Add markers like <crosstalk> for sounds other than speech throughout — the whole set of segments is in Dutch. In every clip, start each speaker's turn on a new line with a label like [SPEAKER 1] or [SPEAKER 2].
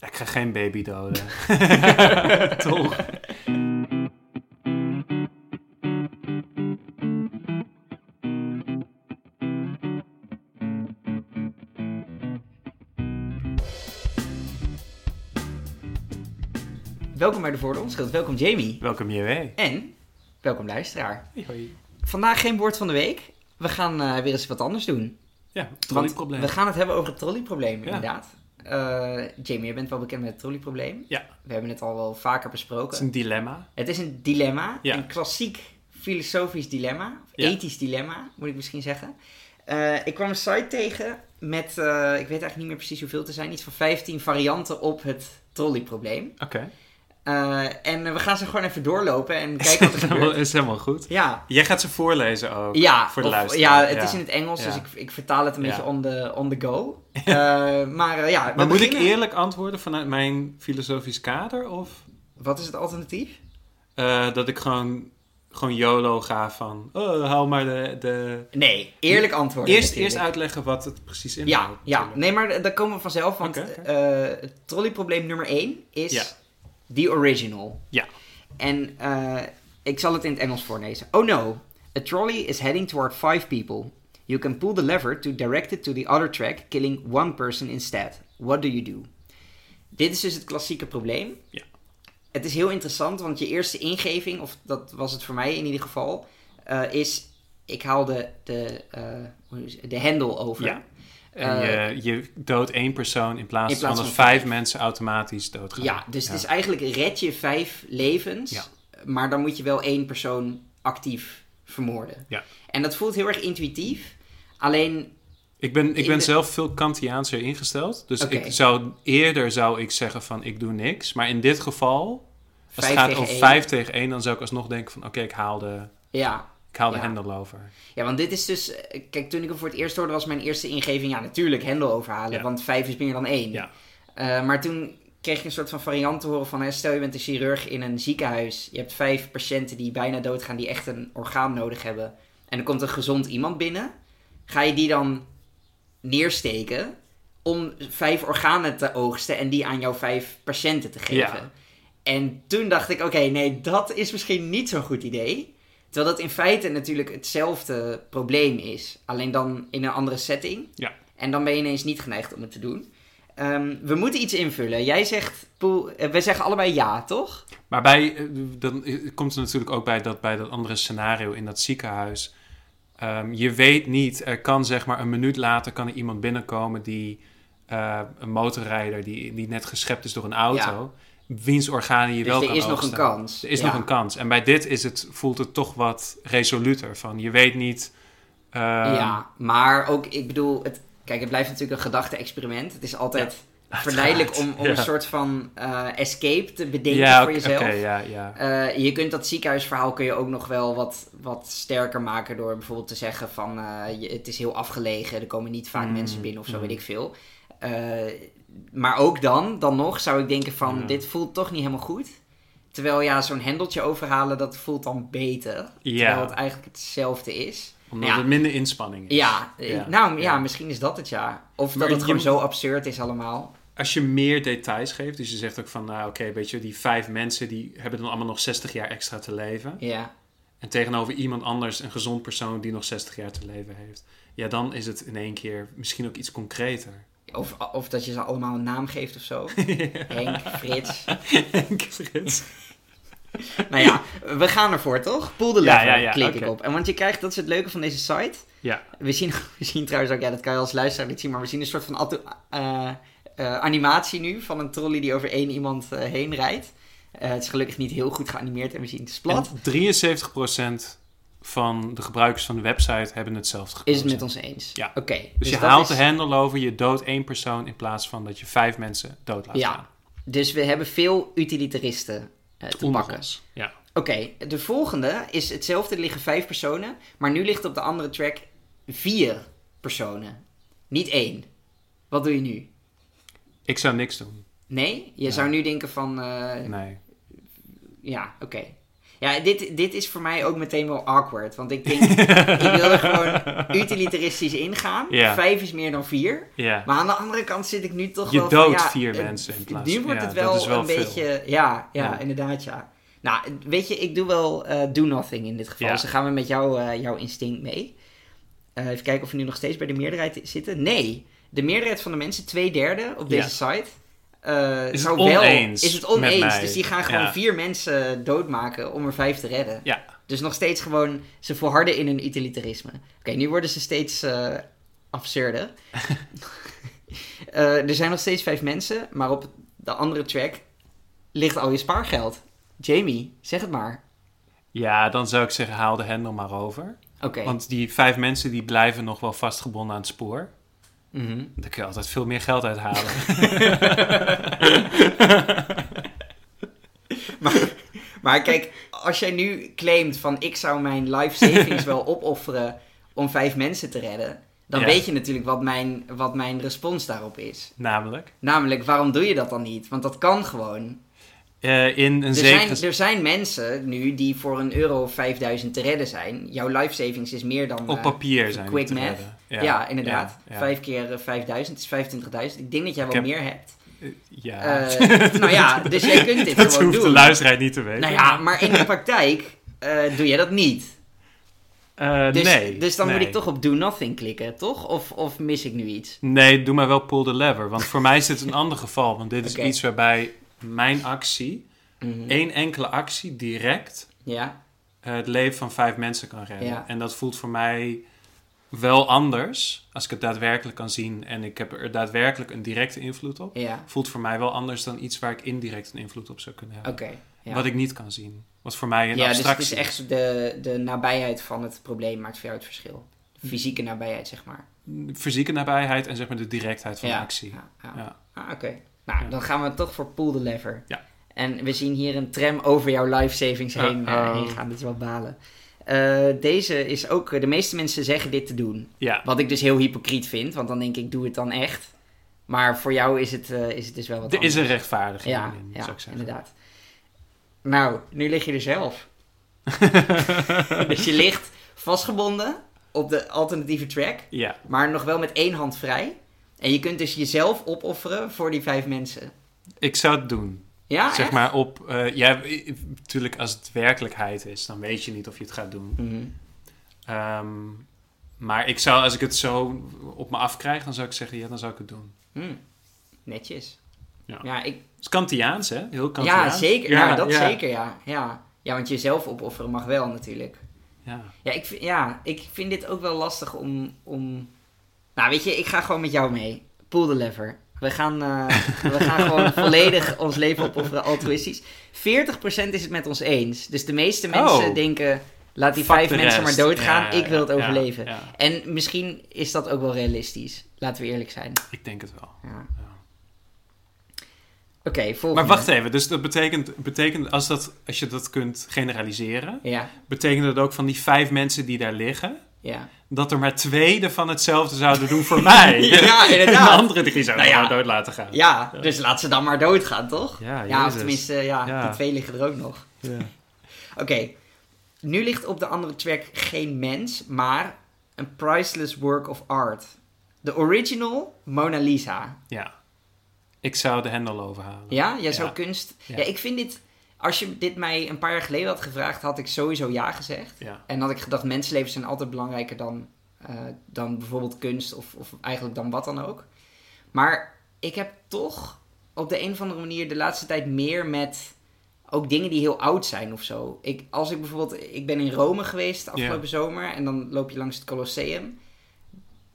[SPEAKER 1] Ik ga geen baby <laughs> doden. Toch?
[SPEAKER 2] Welkom bij de Voor de Onschuld. Welkom Jamie.
[SPEAKER 1] Welkom JW.
[SPEAKER 2] En welkom luisteraar.
[SPEAKER 1] Hoi.
[SPEAKER 2] Vandaag geen woord van de week. We gaan eh, weer eens wat anders doen.
[SPEAKER 1] Ja,
[SPEAKER 2] Want
[SPEAKER 1] trolleyprobleem.
[SPEAKER 2] we gaan het hebben over het
[SPEAKER 1] Ja.
[SPEAKER 2] trolleyprobleem, inderdaad. Eh, Jamie, je bent wel bekend met het trolleyprobleem.
[SPEAKER 1] Ja.
[SPEAKER 2] We hebben het al wel vaker besproken.
[SPEAKER 1] Het is een dilemma.
[SPEAKER 2] Het is een dilemma,
[SPEAKER 1] Ja.
[SPEAKER 2] een klassiek filosofisch dilemma, of
[SPEAKER 1] Ja.
[SPEAKER 2] ethisch dilemma moet ik misschien zeggen. Eh, ik kwam een site tegen met, eh, ik weet eigenlijk niet meer precies hoeveel te zijn, iets van 15 varianten op het trolleyprobleem.
[SPEAKER 1] Oké.
[SPEAKER 2] Eh, en eh, we gaan ze gewoon even doorlopen
[SPEAKER 1] <laughs>
[SPEAKER 2] en kijken wat er gebeurt.
[SPEAKER 1] is helemaal goed.
[SPEAKER 2] Ja,
[SPEAKER 1] Jij gaat ze voorlezen ook.
[SPEAKER 2] ja,
[SPEAKER 1] Voor de
[SPEAKER 2] of-
[SPEAKER 1] luisteraar,
[SPEAKER 2] ja, het
[SPEAKER 1] ja.
[SPEAKER 2] is in het Engels, dus
[SPEAKER 1] Ja.
[SPEAKER 2] ik, ik vertaal het een
[SPEAKER 1] Ja.
[SPEAKER 2] beetje on the, on the
[SPEAKER 1] <laughs>
[SPEAKER 2] go. Eh, maar eh, ja, we
[SPEAKER 1] Maar moet ik
[SPEAKER 2] beginnen-
[SPEAKER 1] eerlijk antwoorden vanuit mijn filosofisch kader? Of
[SPEAKER 2] Wat is het alternatief?
[SPEAKER 1] eh, dat ik gewoon, gewoon YOLO ga van... Oh, haal maar de... de...
[SPEAKER 2] Nee, eerlijk antwoord.
[SPEAKER 1] Eerst, eerst uitleggen wat het precies inhoudt.
[SPEAKER 2] Ja, ja,
[SPEAKER 1] natuurlijk.
[SPEAKER 2] nee, maar eh, daar komen we vanzelf. Want
[SPEAKER 1] Oké, oké.
[SPEAKER 2] eh, het trolleyprobleem nummer 1 is
[SPEAKER 1] Ja.
[SPEAKER 2] The Original.
[SPEAKER 1] Ja.
[SPEAKER 2] En eh, ik zal het in het Engels voorlezen. Oh no, a trolley is heading toward five people. You can pull the lever to direct it to the other track, killing one person instead. What do you do? Dit is dus het klassieke probleem.
[SPEAKER 1] Ja.
[SPEAKER 2] Het is heel interessant, want je eerste ingeving, of dat was het voor mij in ieder geval, eh, is ik haal de, de, eh, hoe is het? de hendel over.
[SPEAKER 1] Ja. En
[SPEAKER 2] Eh,
[SPEAKER 1] je, je doodt één persoon in plaats,
[SPEAKER 2] in plaats
[SPEAKER 1] van dat
[SPEAKER 2] van
[SPEAKER 1] vijf mensen automatisch doodgaan.
[SPEAKER 2] Ja, dus het is eigenlijk red je vijf levens,
[SPEAKER 1] Ja.
[SPEAKER 2] maar dan moet je wel één persoon actief vermoorden.
[SPEAKER 1] Ja.
[SPEAKER 2] En dat voelt heel erg intuïtief. Alleen,
[SPEAKER 1] Ik ben, ik
[SPEAKER 2] In
[SPEAKER 1] ben
[SPEAKER 2] de-
[SPEAKER 1] zelf veel Kantiaanser ingesteld. Dus
[SPEAKER 2] Oké.
[SPEAKER 1] ik zou, eerder zou ik zeggen van ik doe niks. Maar in dit geval, als
[SPEAKER 2] Vijf
[SPEAKER 1] het gaat
[SPEAKER 2] tegen
[SPEAKER 1] om
[SPEAKER 2] één.
[SPEAKER 1] 5 tegen 1, dan zou ik alsnog denken van oké, ik haal de,
[SPEAKER 2] ja.
[SPEAKER 1] ik haal de
[SPEAKER 2] Ja.
[SPEAKER 1] hendel over.
[SPEAKER 2] Ja, want dit is dus... eh, Kijk, toen ik hem voor het eerst hoorde was mijn eerste ingeving... Ja, natuurlijk, hendel overhalen,
[SPEAKER 1] Ja.
[SPEAKER 2] want vijf is meer dan één.
[SPEAKER 1] Ja.
[SPEAKER 2] Eh, maar toen kreeg ik een soort van variant te horen van... Hè, stel, je bent een chirurg in een ziekenhuis. Je hebt vijf patiënten die bijna doodgaan... die echt een orgaan nodig hebben. En er komt een gezond iemand binnen. Ga je die dan neersteken... om vijf organen te oogsten... en die aan jouw vijf patiënten te geven.
[SPEAKER 1] Ja.
[SPEAKER 2] En toen dacht ik... oké, nee, dat is misschien niet zo'n goed idee... Terwijl dat in feite natuurlijk hetzelfde probleem is. Alleen dan in een andere setting.
[SPEAKER 1] Ja.
[SPEAKER 2] En dan ben je ineens niet geneigd om het te doen. Ehm, we moeten iets invullen. Jij zegt, Poel, eh, wij zeggen allebei ja, toch?
[SPEAKER 1] Maar bij, eh, dan eh, komt er natuurlijk ook bij dat, bij dat andere scenario in dat ziekenhuis. ehm, je weet niet, er kan zeg maar een minuut later kan er iemand binnenkomen die eh, een motorrijder die, die net geschept is door een auto. Wiens organen je
[SPEAKER 2] Dus
[SPEAKER 1] wel
[SPEAKER 2] er
[SPEAKER 1] kan
[SPEAKER 2] is nog een
[SPEAKER 1] oogsten.
[SPEAKER 2] kans.
[SPEAKER 1] Er is
[SPEAKER 2] Ja.
[SPEAKER 1] nog een kans. En bij dit is het, voelt het toch wat resoluter. Van je weet niet. ehm,
[SPEAKER 2] ja, maar ook, ik bedoel, het, kijk, het blijft natuurlijk een gedachte-experiment. Het is altijd verleidelijk om, om
[SPEAKER 1] Ja.
[SPEAKER 2] een soort van eh, escape te bedenken
[SPEAKER 1] ja,
[SPEAKER 2] voor
[SPEAKER 1] oké,
[SPEAKER 2] jezelf.
[SPEAKER 1] oké, ja, ja.
[SPEAKER 2] Eh, je kunt dat ziekenhuisverhaal kun je ook nog wel wat, wat sterker maken door bijvoorbeeld te zeggen van eh, je- het is heel afgelegen, er komen niet vaak
[SPEAKER 1] Mm,
[SPEAKER 2] mensen binnen of zo,
[SPEAKER 1] mm.
[SPEAKER 2] weet ik veel. Eh, maar ook dan, dan nog, zou ik denken van
[SPEAKER 1] Ja.
[SPEAKER 2] dit voelt toch niet helemaal goed. Terwijl ja, zo'n hendeltje overhalen, dat voelt dan beter. Terwijl het
[SPEAKER 1] ja,
[SPEAKER 2] eigenlijk hetzelfde is.
[SPEAKER 1] omdat
[SPEAKER 2] ja.
[SPEAKER 1] er minder inspanning is.
[SPEAKER 2] Ja, eh,
[SPEAKER 1] Ja.
[SPEAKER 2] nou ja,
[SPEAKER 1] Ja.
[SPEAKER 2] misschien is dat het ja. Of
[SPEAKER 1] Maar
[SPEAKER 2] dat het
[SPEAKER 1] je
[SPEAKER 2] gewoon
[SPEAKER 1] moet-
[SPEAKER 2] zo absurd is allemaal.
[SPEAKER 1] Als je meer details geeft, dus je zegt ook van, nou oké, weet je, die vijf mensen die hebben dan allemaal nog 60 jaar extra te leven.
[SPEAKER 2] Ja,
[SPEAKER 1] En tegenover iemand anders, een gezond persoon die nog 60 jaar te leven heeft. Ja, dan is het in één keer misschien ook iets concreter. <laughs>
[SPEAKER 2] of, of dat je ze allemaal een naam geeft of zo. Henk, Frits.
[SPEAKER 1] Frits.
[SPEAKER 2] Nou ja, we gaan ervoor, toch? Pool de
[SPEAKER 1] Ja,
[SPEAKER 2] lever,
[SPEAKER 1] ja, ja,
[SPEAKER 2] klik ik
[SPEAKER 1] oké.
[SPEAKER 2] op. En want je krijgt, dat is het leuke van deze site.
[SPEAKER 1] Ja,
[SPEAKER 2] We zien, <laughs> we zien trouwens ook, ja, dat kan je als luisteraar niet zien, maar we zien een soort van atto- eh, eh, animatie nu van een trolley die over één iemand eh, heen rijdt. Eh, het is gelukkig niet heel goed geanimeerd en we zien het is plat.
[SPEAKER 1] En 73% van de gebruikers van de website hebben hetzelfde gekozen.
[SPEAKER 2] Is het met ons eens?
[SPEAKER 1] Ja.
[SPEAKER 2] Oké.
[SPEAKER 1] Dus, je
[SPEAKER 2] dat
[SPEAKER 1] haalt
[SPEAKER 2] is-
[SPEAKER 1] de hendel over, je doodt één persoon in plaats van dat je vijf mensen dood laat
[SPEAKER 2] Ja,
[SPEAKER 1] gaan.
[SPEAKER 2] dus we hebben veel utilitaristen eh, te
[SPEAKER 1] Onder
[SPEAKER 2] pakken.
[SPEAKER 1] ons. Ja.
[SPEAKER 2] Oké, de volgende is hetzelfde. Er liggen vijf personen, maar nu ligt op de andere track vier personen. Niet één. Wat doe je nu?
[SPEAKER 1] Ik zou niks doen.
[SPEAKER 2] Nee? Je zou nu denken van... eh,
[SPEAKER 1] Nee.
[SPEAKER 2] ja, oké. Ja, dit, dit is voor mij ook meteen wel awkward. Want ik denk, ik wil er gewoon utilitaristisch ingaan.
[SPEAKER 1] Ja.
[SPEAKER 2] Vijf is meer dan vier.
[SPEAKER 1] Ja.
[SPEAKER 2] Maar aan de andere kant zit ik nu toch
[SPEAKER 1] Je
[SPEAKER 2] wel
[SPEAKER 1] doodt
[SPEAKER 2] van, ja,
[SPEAKER 1] vier
[SPEAKER 2] eh,
[SPEAKER 1] mensen in plaats-
[SPEAKER 2] Nu wordt
[SPEAKER 1] ja,
[SPEAKER 2] het
[SPEAKER 1] dat
[SPEAKER 2] wel,
[SPEAKER 1] is wel
[SPEAKER 2] een
[SPEAKER 1] veel.
[SPEAKER 2] beetje... Ja, ja,
[SPEAKER 1] Ja.
[SPEAKER 2] inderdaad, ja. Nou, weet je, ik doe wel eh, do nothing in dit geval.
[SPEAKER 1] Ja.
[SPEAKER 2] Dus dan gaan we met jou, eh, jouw instinct mee. Eh, even kijken of we nu nog steeds bij de meerderheid zitten. Nee, de meerderheid van de mensen, twee derde op
[SPEAKER 1] Ja.
[SPEAKER 2] deze site... eh,
[SPEAKER 1] het
[SPEAKER 2] zou
[SPEAKER 1] oneens
[SPEAKER 2] wel, is het
[SPEAKER 1] met
[SPEAKER 2] oneens.
[SPEAKER 1] mij.
[SPEAKER 2] Dus die gaan gewoon
[SPEAKER 1] Ja.
[SPEAKER 2] vier mensen doodmaken om er vijf te redden.
[SPEAKER 1] Ja.
[SPEAKER 2] Dus nog steeds gewoon, ze volharden in hun utilitarisme. Oké, nu worden ze steeds eh absurder.
[SPEAKER 1] <laughs>
[SPEAKER 2] Eh, er zijn nog steeds vijf mensen, maar op de andere track ligt al je spaargeld. Jamie, zeg het maar.
[SPEAKER 1] Ja, dan zou ik zeggen, haal de hendel maar over.
[SPEAKER 2] Oké.
[SPEAKER 1] Want die vijf mensen die blijven nog wel vastgebonden aan het spoor.
[SPEAKER 2] Mhm. <laughs>
[SPEAKER 1] Daar kun je altijd veel meer geld uithalen.
[SPEAKER 2] Maar kijk, als jij nu claimt van ik zou mijn life
[SPEAKER 1] <laughs>
[SPEAKER 2] savings wel opofferen om vijf mensen te redden, dan
[SPEAKER 1] Ja.
[SPEAKER 2] weet je natuurlijk wat mijn, wat mijn respons daarop is.
[SPEAKER 1] Namelijk,
[SPEAKER 2] Namelijk, waarom doe je dat dan niet? Want dat kan gewoon.
[SPEAKER 1] eh, in een
[SPEAKER 2] Er
[SPEAKER 1] zekere...
[SPEAKER 2] zijn, er zijn mensen nu die voor een euro of 5000 te redden zijn. Jouw life savings is meer dan...
[SPEAKER 1] op
[SPEAKER 2] eh,
[SPEAKER 1] papier zijn die
[SPEAKER 2] quick
[SPEAKER 1] te
[SPEAKER 2] math.
[SPEAKER 1] redden.
[SPEAKER 2] Ja, inderdaad.
[SPEAKER 1] ja, ja.
[SPEAKER 2] Vijf keer eh, 5000 is 25.000. Ik denk dat jij wel
[SPEAKER 1] heb-
[SPEAKER 2] meer hebt.
[SPEAKER 1] Eh, Ja. <laughs>
[SPEAKER 2] Eh, nou ja, dus jij kunt dit
[SPEAKER 1] dat
[SPEAKER 2] gewoon
[SPEAKER 1] hoeft de
[SPEAKER 2] doen.
[SPEAKER 1] luisteraar niet te weten.
[SPEAKER 2] Nou ja, maar in de praktijk eh, doe jij dat niet.
[SPEAKER 1] Eh,
[SPEAKER 2] Dus,
[SPEAKER 1] nee.
[SPEAKER 2] dus dan moet
[SPEAKER 1] nee.
[SPEAKER 2] ik toch op do nothing klikken, toch? Of, of mis ik nu iets?
[SPEAKER 1] Nee, doe maar wel pull the lever. Want voor mij is dit
[SPEAKER 2] <laughs>
[SPEAKER 1] een ander geval. Want dit is
[SPEAKER 2] Oké.
[SPEAKER 1] iets waarbij mijn actie,
[SPEAKER 2] Mhm.
[SPEAKER 1] één enkele actie, direct
[SPEAKER 2] Ja,
[SPEAKER 1] eh, het leven van vijf mensen kan redden.
[SPEAKER 2] Ja.
[SPEAKER 1] En dat voelt voor mij wel anders. Als ik het daadwerkelijk kan zien en ik heb er daadwerkelijk een directe invloed op.
[SPEAKER 2] ja,
[SPEAKER 1] Voelt voor mij wel anders dan iets waar ik indirect een invloed op zou kunnen
[SPEAKER 2] oké.
[SPEAKER 1] hebben.
[SPEAKER 2] ja.
[SPEAKER 1] Wat ik niet kan zien. Wat voor mij een
[SPEAKER 2] ja, dus het
[SPEAKER 1] abstractie
[SPEAKER 2] is echt de, de nabijheid van het probleem maakt voor jou het verschil.
[SPEAKER 1] Mhm.
[SPEAKER 2] De fysieke nabijheid, zeg maar.
[SPEAKER 1] is. Fysieke nabijheid en zeg maar de directheid van de actie.
[SPEAKER 2] Ja, ja.
[SPEAKER 1] Ja.
[SPEAKER 2] Ah, oké. Nou,
[SPEAKER 1] Ja.
[SPEAKER 2] dan gaan we toch voor pull the lever.
[SPEAKER 1] Ja.
[SPEAKER 2] En we zien hier een tram over jouw life savings heen,
[SPEAKER 1] Uh-oh.
[SPEAKER 2] eh, heen gaan. Dat is wel balen. Eh, deze is ook... eh, de meeste mensen zeggen dit te doen.
[SPEAKER 1] Ja.
[SPEAKER 2] Wat ik dus heel hypocriet vind. Want dan denk ik, doe het dan echt. Maar voor jou is het, eh, is het dus wel wat
[SPEAKER 1] Er is een
[SPEAKER 2] anders.
[SPEAKER 1] rechtvaardiging
[SPEAKER 2] Ja,
[SPEAKER 1] in,
[SPEAKER 2] ja
[SPEAKER 1] zou ik zeggen.
[SPEAKER 2] inderdaad. Nou, nu lig je er
[SPEAKER 1] <laughs>
[SPEAKER 2] zelf. dus je ligt vastgebonden op de alternatieve track
[SPEAKER 1] Ja,
[SPEAKER 2] maar nog wel met één hand vrij. En je kunt dus jezelf opofferen voor die vijf mensen.
[SPEAKER 1] ik zou het doen.
[SPEAKER 2] Ja,
[SPEAKER 1] zeg
[SPEAKER 2] Ah, echt?
[SPEAKER 1] maar op. eh, ja, i- i- natuurlijk, als het werkelijkheid is, dan weet je niet of je het gaat doen.
[SPEAKER 2] Mhm.
[SPEAKER 1] Ehm, maar ik zou, als ik het zo op me afkrijg, dan zou ik zeggen: ja, dan zou ik het doen.
[SPEAKER 2] Hm. Netjes.
[SPEAKER 1] Ja.
[SPEAKER 2] ik,
[SPEAKER 1] Het is Kantiaans, hè? Heel
[SPEAKER 2] ja
[SPEAKER 1] Kantiaans.
[SPEAKER 2] zeker. Ja, dat zeker, ja. ja. Ja, want jezelf opofferen mag wel natuurlijk.
[SPEAKER 1] Ja.
[SPEAKER 2] Ja, ik, vind- ja, ik vind dit ook wel lastig om, om... Nou, weet je, ik ga gewoon met jou mee. Pull the lever. We gaan, eh, we gaan
[SPEAKER 1] <laughs>
[SPEAKER 2] gewoon volledig ons leven opofferen, altruïstisch. 40% is het met ons eens. Dus de meeste mensen
[SPEAKER 1] Oh.
[SPEAKER 2] denken... Laat die
[SPEAKER 1] Fuck
[SPEAKER 2] vijf
[SPEAKER 1] de
[SPEAKER 2] mensen maar
[SPEAKER 1] rest.
[SPEAKER 2] doodgaan.
[SPEAKER 1] Ja,
[SPEAKER 2] ik wil het
[SPEAKER 1] ja,
[SPEAKER 2] overleven.
[SPEAKER 1] ja, ja.
[SPEAKER 2] En misschien is dat ook wel realistisch. Laten we eerlijk zijn.
[SPEAKER 1] Ik denk het wel.
[SPEAKER 2] Ja.
[SPEAKER 1] Ja.
[SPEAKER 2] Oké, volgende.
[SPEAKER 1] Maar wacht even, dus dat betekent, betekent als, dat, als je dat kunt generaliseren,
[SPEAKER 2] Ja,
[SPEAKER 1] betekent dat ook van die vijf mensen die daar liggen,
[SPEAKER 2] ja.
[SPEAKER 1] dat er maar twee ervan hetzelfde zouden doen
[SPEAKER 2] <laughs>
[SPEAKER 1] voor mij.
[SPEAKER 2] Ja,
[SPEAKER 1] <laughs> En de
[SPEAKER 2] inderdaad.
[SPEAKER 1] andere drie zouden
[SPEAKER 2] Nou ja.
[SPEAKER 1] gewoon dood laten gaan.
[SPEAKER 2] Ja, dus laat ze dan maar doodgaan, toch?
[SPEAKER 1] Ja,
[SPEAKER 2] of
[SPEAKER 1] Jezus.
[SPEAKER 2] tenminste, ja,
[SPEAKER 1] Ja.
[SPEAKER 2] die twee liggen er ook nog.
[SPEAKER 1] Ja.
[SPEAKER 2] <laughs> Oké, nu ligt op de andere track geen mens, maar een priceless work of art. De original Mona Lisa.
[SPEAKER 1] Ja. Ik zou de hendel overhalen.
[SPEAKER 2] Ja, jij zou
[SPEAKER 1] Ja.
[SPEAKER 2] kunst. Ja.
[SPEAKER 1] Ja.
[SPEAKER 2] ik vind dit. Als je dit mij een paar jaar geleden had gevraagd, had ik sowieso ja gezegd.
[SPEAKER 1] Ja.
[SPEAKER 2] En had ik gedacht, mensenlevens zijn altijd belangrijker dan, eh, dan bijvoorbeeld kunst of, of eigenlijk dan wat dan ook. Maar ik heb toch op de een of andere manier de laatste tijd meer met ook dingen die heel oud zijn of zo. Ik, als ik bijvoorbeeld, ik ben in Rome geweest afgelopen zomer en dan loop je langs het Colosseum.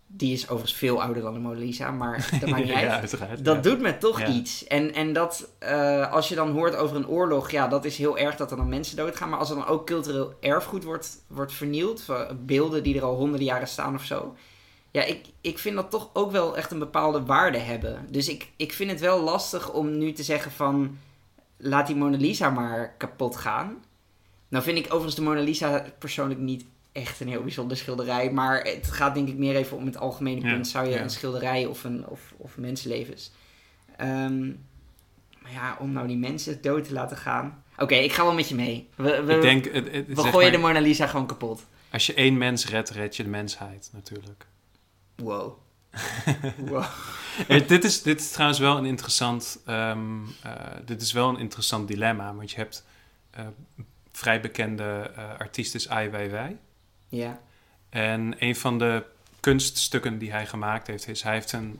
[SPEAKER 2] Die is overigens veel ouder dan de Mona Lisa, maar
[SPEAKER 1] <laughs>
[SPEAKER 2] dat maakt niet uit.
[SPEAKER 1] ja, uiteraard.
[SPEAKER 2] Dat
[SPEAKER 1] ja.
[SPEAKER 2] doet me toch
[SPEAKER 1] Ja.
[SPEAKER 2] iets. En, en dat, eh, als je dan hoort over een oorlog, ja, dat is heel erg dat er dan mensen doodgaan. Maar als er dan ook cultureel erfgoed wordt, wordt vernield, van beelden die er al honderden jaren staan of zo. Ja, ik, ik vind dat toch ook wel echt een bepaalde waarde hebben. Dus ik, ik vind het wel lastig om nu te zeggen van, laat die Mona Lisa maar kapot gaan. Nou vind ik overigens de Mona Lisa persoonlijk niet echt een heel bijzonder schilderij. Maar het gaat denk ik meer even om het algemene
[SPEAKER 1] Ja,
[SPEAKER 2] punt. Zou je
[SPEAKER 1] ja.
[SPEAKER 2] een schilderij of, een, of, of mensenlevens... Ehm, Maar ja, om nou die mensen dood te laten gaan. Oké, ik ga wel met je mee. We, we,
[SPEAKER 1] ik denk, het, het-
[SPEAKER 2] we
[SPEAKER 1] zeg
[SPEAKER 2] gooien de
[SPEAKER 1] maar,
[SPEAKER 2] Mona Lisa gewoon kapot.
[SPEAKER 1] als je één mens redt, red je de mensheid natuurlijk.
[SPEAKER 2] Wow. wow.
[SPEAKER 1] Eh, dit, is, dit is trouwens wel een interessant, ehm, eh, dit is wel een interessant dilemma. Want je hebt eh, vrij bekende eh, artiest is Ai Weiwei.
[SPEAKER 2] Ja.
[SPEAKER 1] En een van de kunststukken die hij gemaakt heeft, is hij heeft een,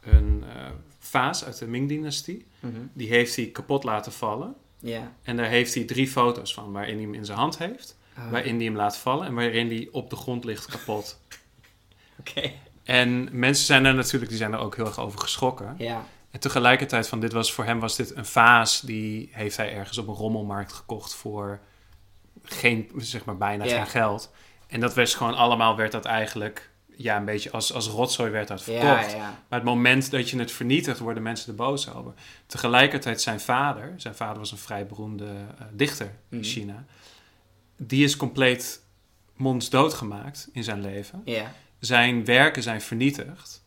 [SPEAKER 1] een eh, vaas uit de Ming-dynastie.
[SPEAKER 2] Mhm.
[SPEAKER 1] Die heeft hij kapot laten vallen.
[SPEAKER 2] Ja.
[SPEAKER 1] En daar heeft hij drie foto's van, waarin hij hem in zijn hand heeft,
[SPEAKER 2] Oh,
[SPEAKER 1] waarin hij hem laat vallen en waarin hij op de grond ligt kapot. <laughs>
[SPEAKER 2] Oké.
[SPEAKER 1] en mensen zijn daar natuurlijk, die zijn daar ook heel erg over geschrokken.
[SPEAKER 2] Ja.
[SPEAKER 1] En tegelijkertijd van dit was voor hem was dit een vaas die heeft hij ergens op een rommelmarkt gekocht voor geen zeg maar bijna
[SPEAKER 2] Ja.
[SPEAKER 1] geen geld. En dat werd gewoon allemaal werd dat eigenlijk ja een beetje als, als rotzooi werd dat verkocht.
[SPEAKER 2] Ja, ja.
[SPEAKER 1] Maar het moment dat je het vernietigt worden mensen er boos over. Tegelijkertijd zijn vader, zijn vader was een vrij beroemde eh, dichter in
[SPEAKER 2] Mhm.
[SPEAKER 1] China. Die is compleet mondsdood gemaakt in zijn leven
[SPEAKER 2] Ja.
[SPEAKER 1] zijn werken zijn vernietigd.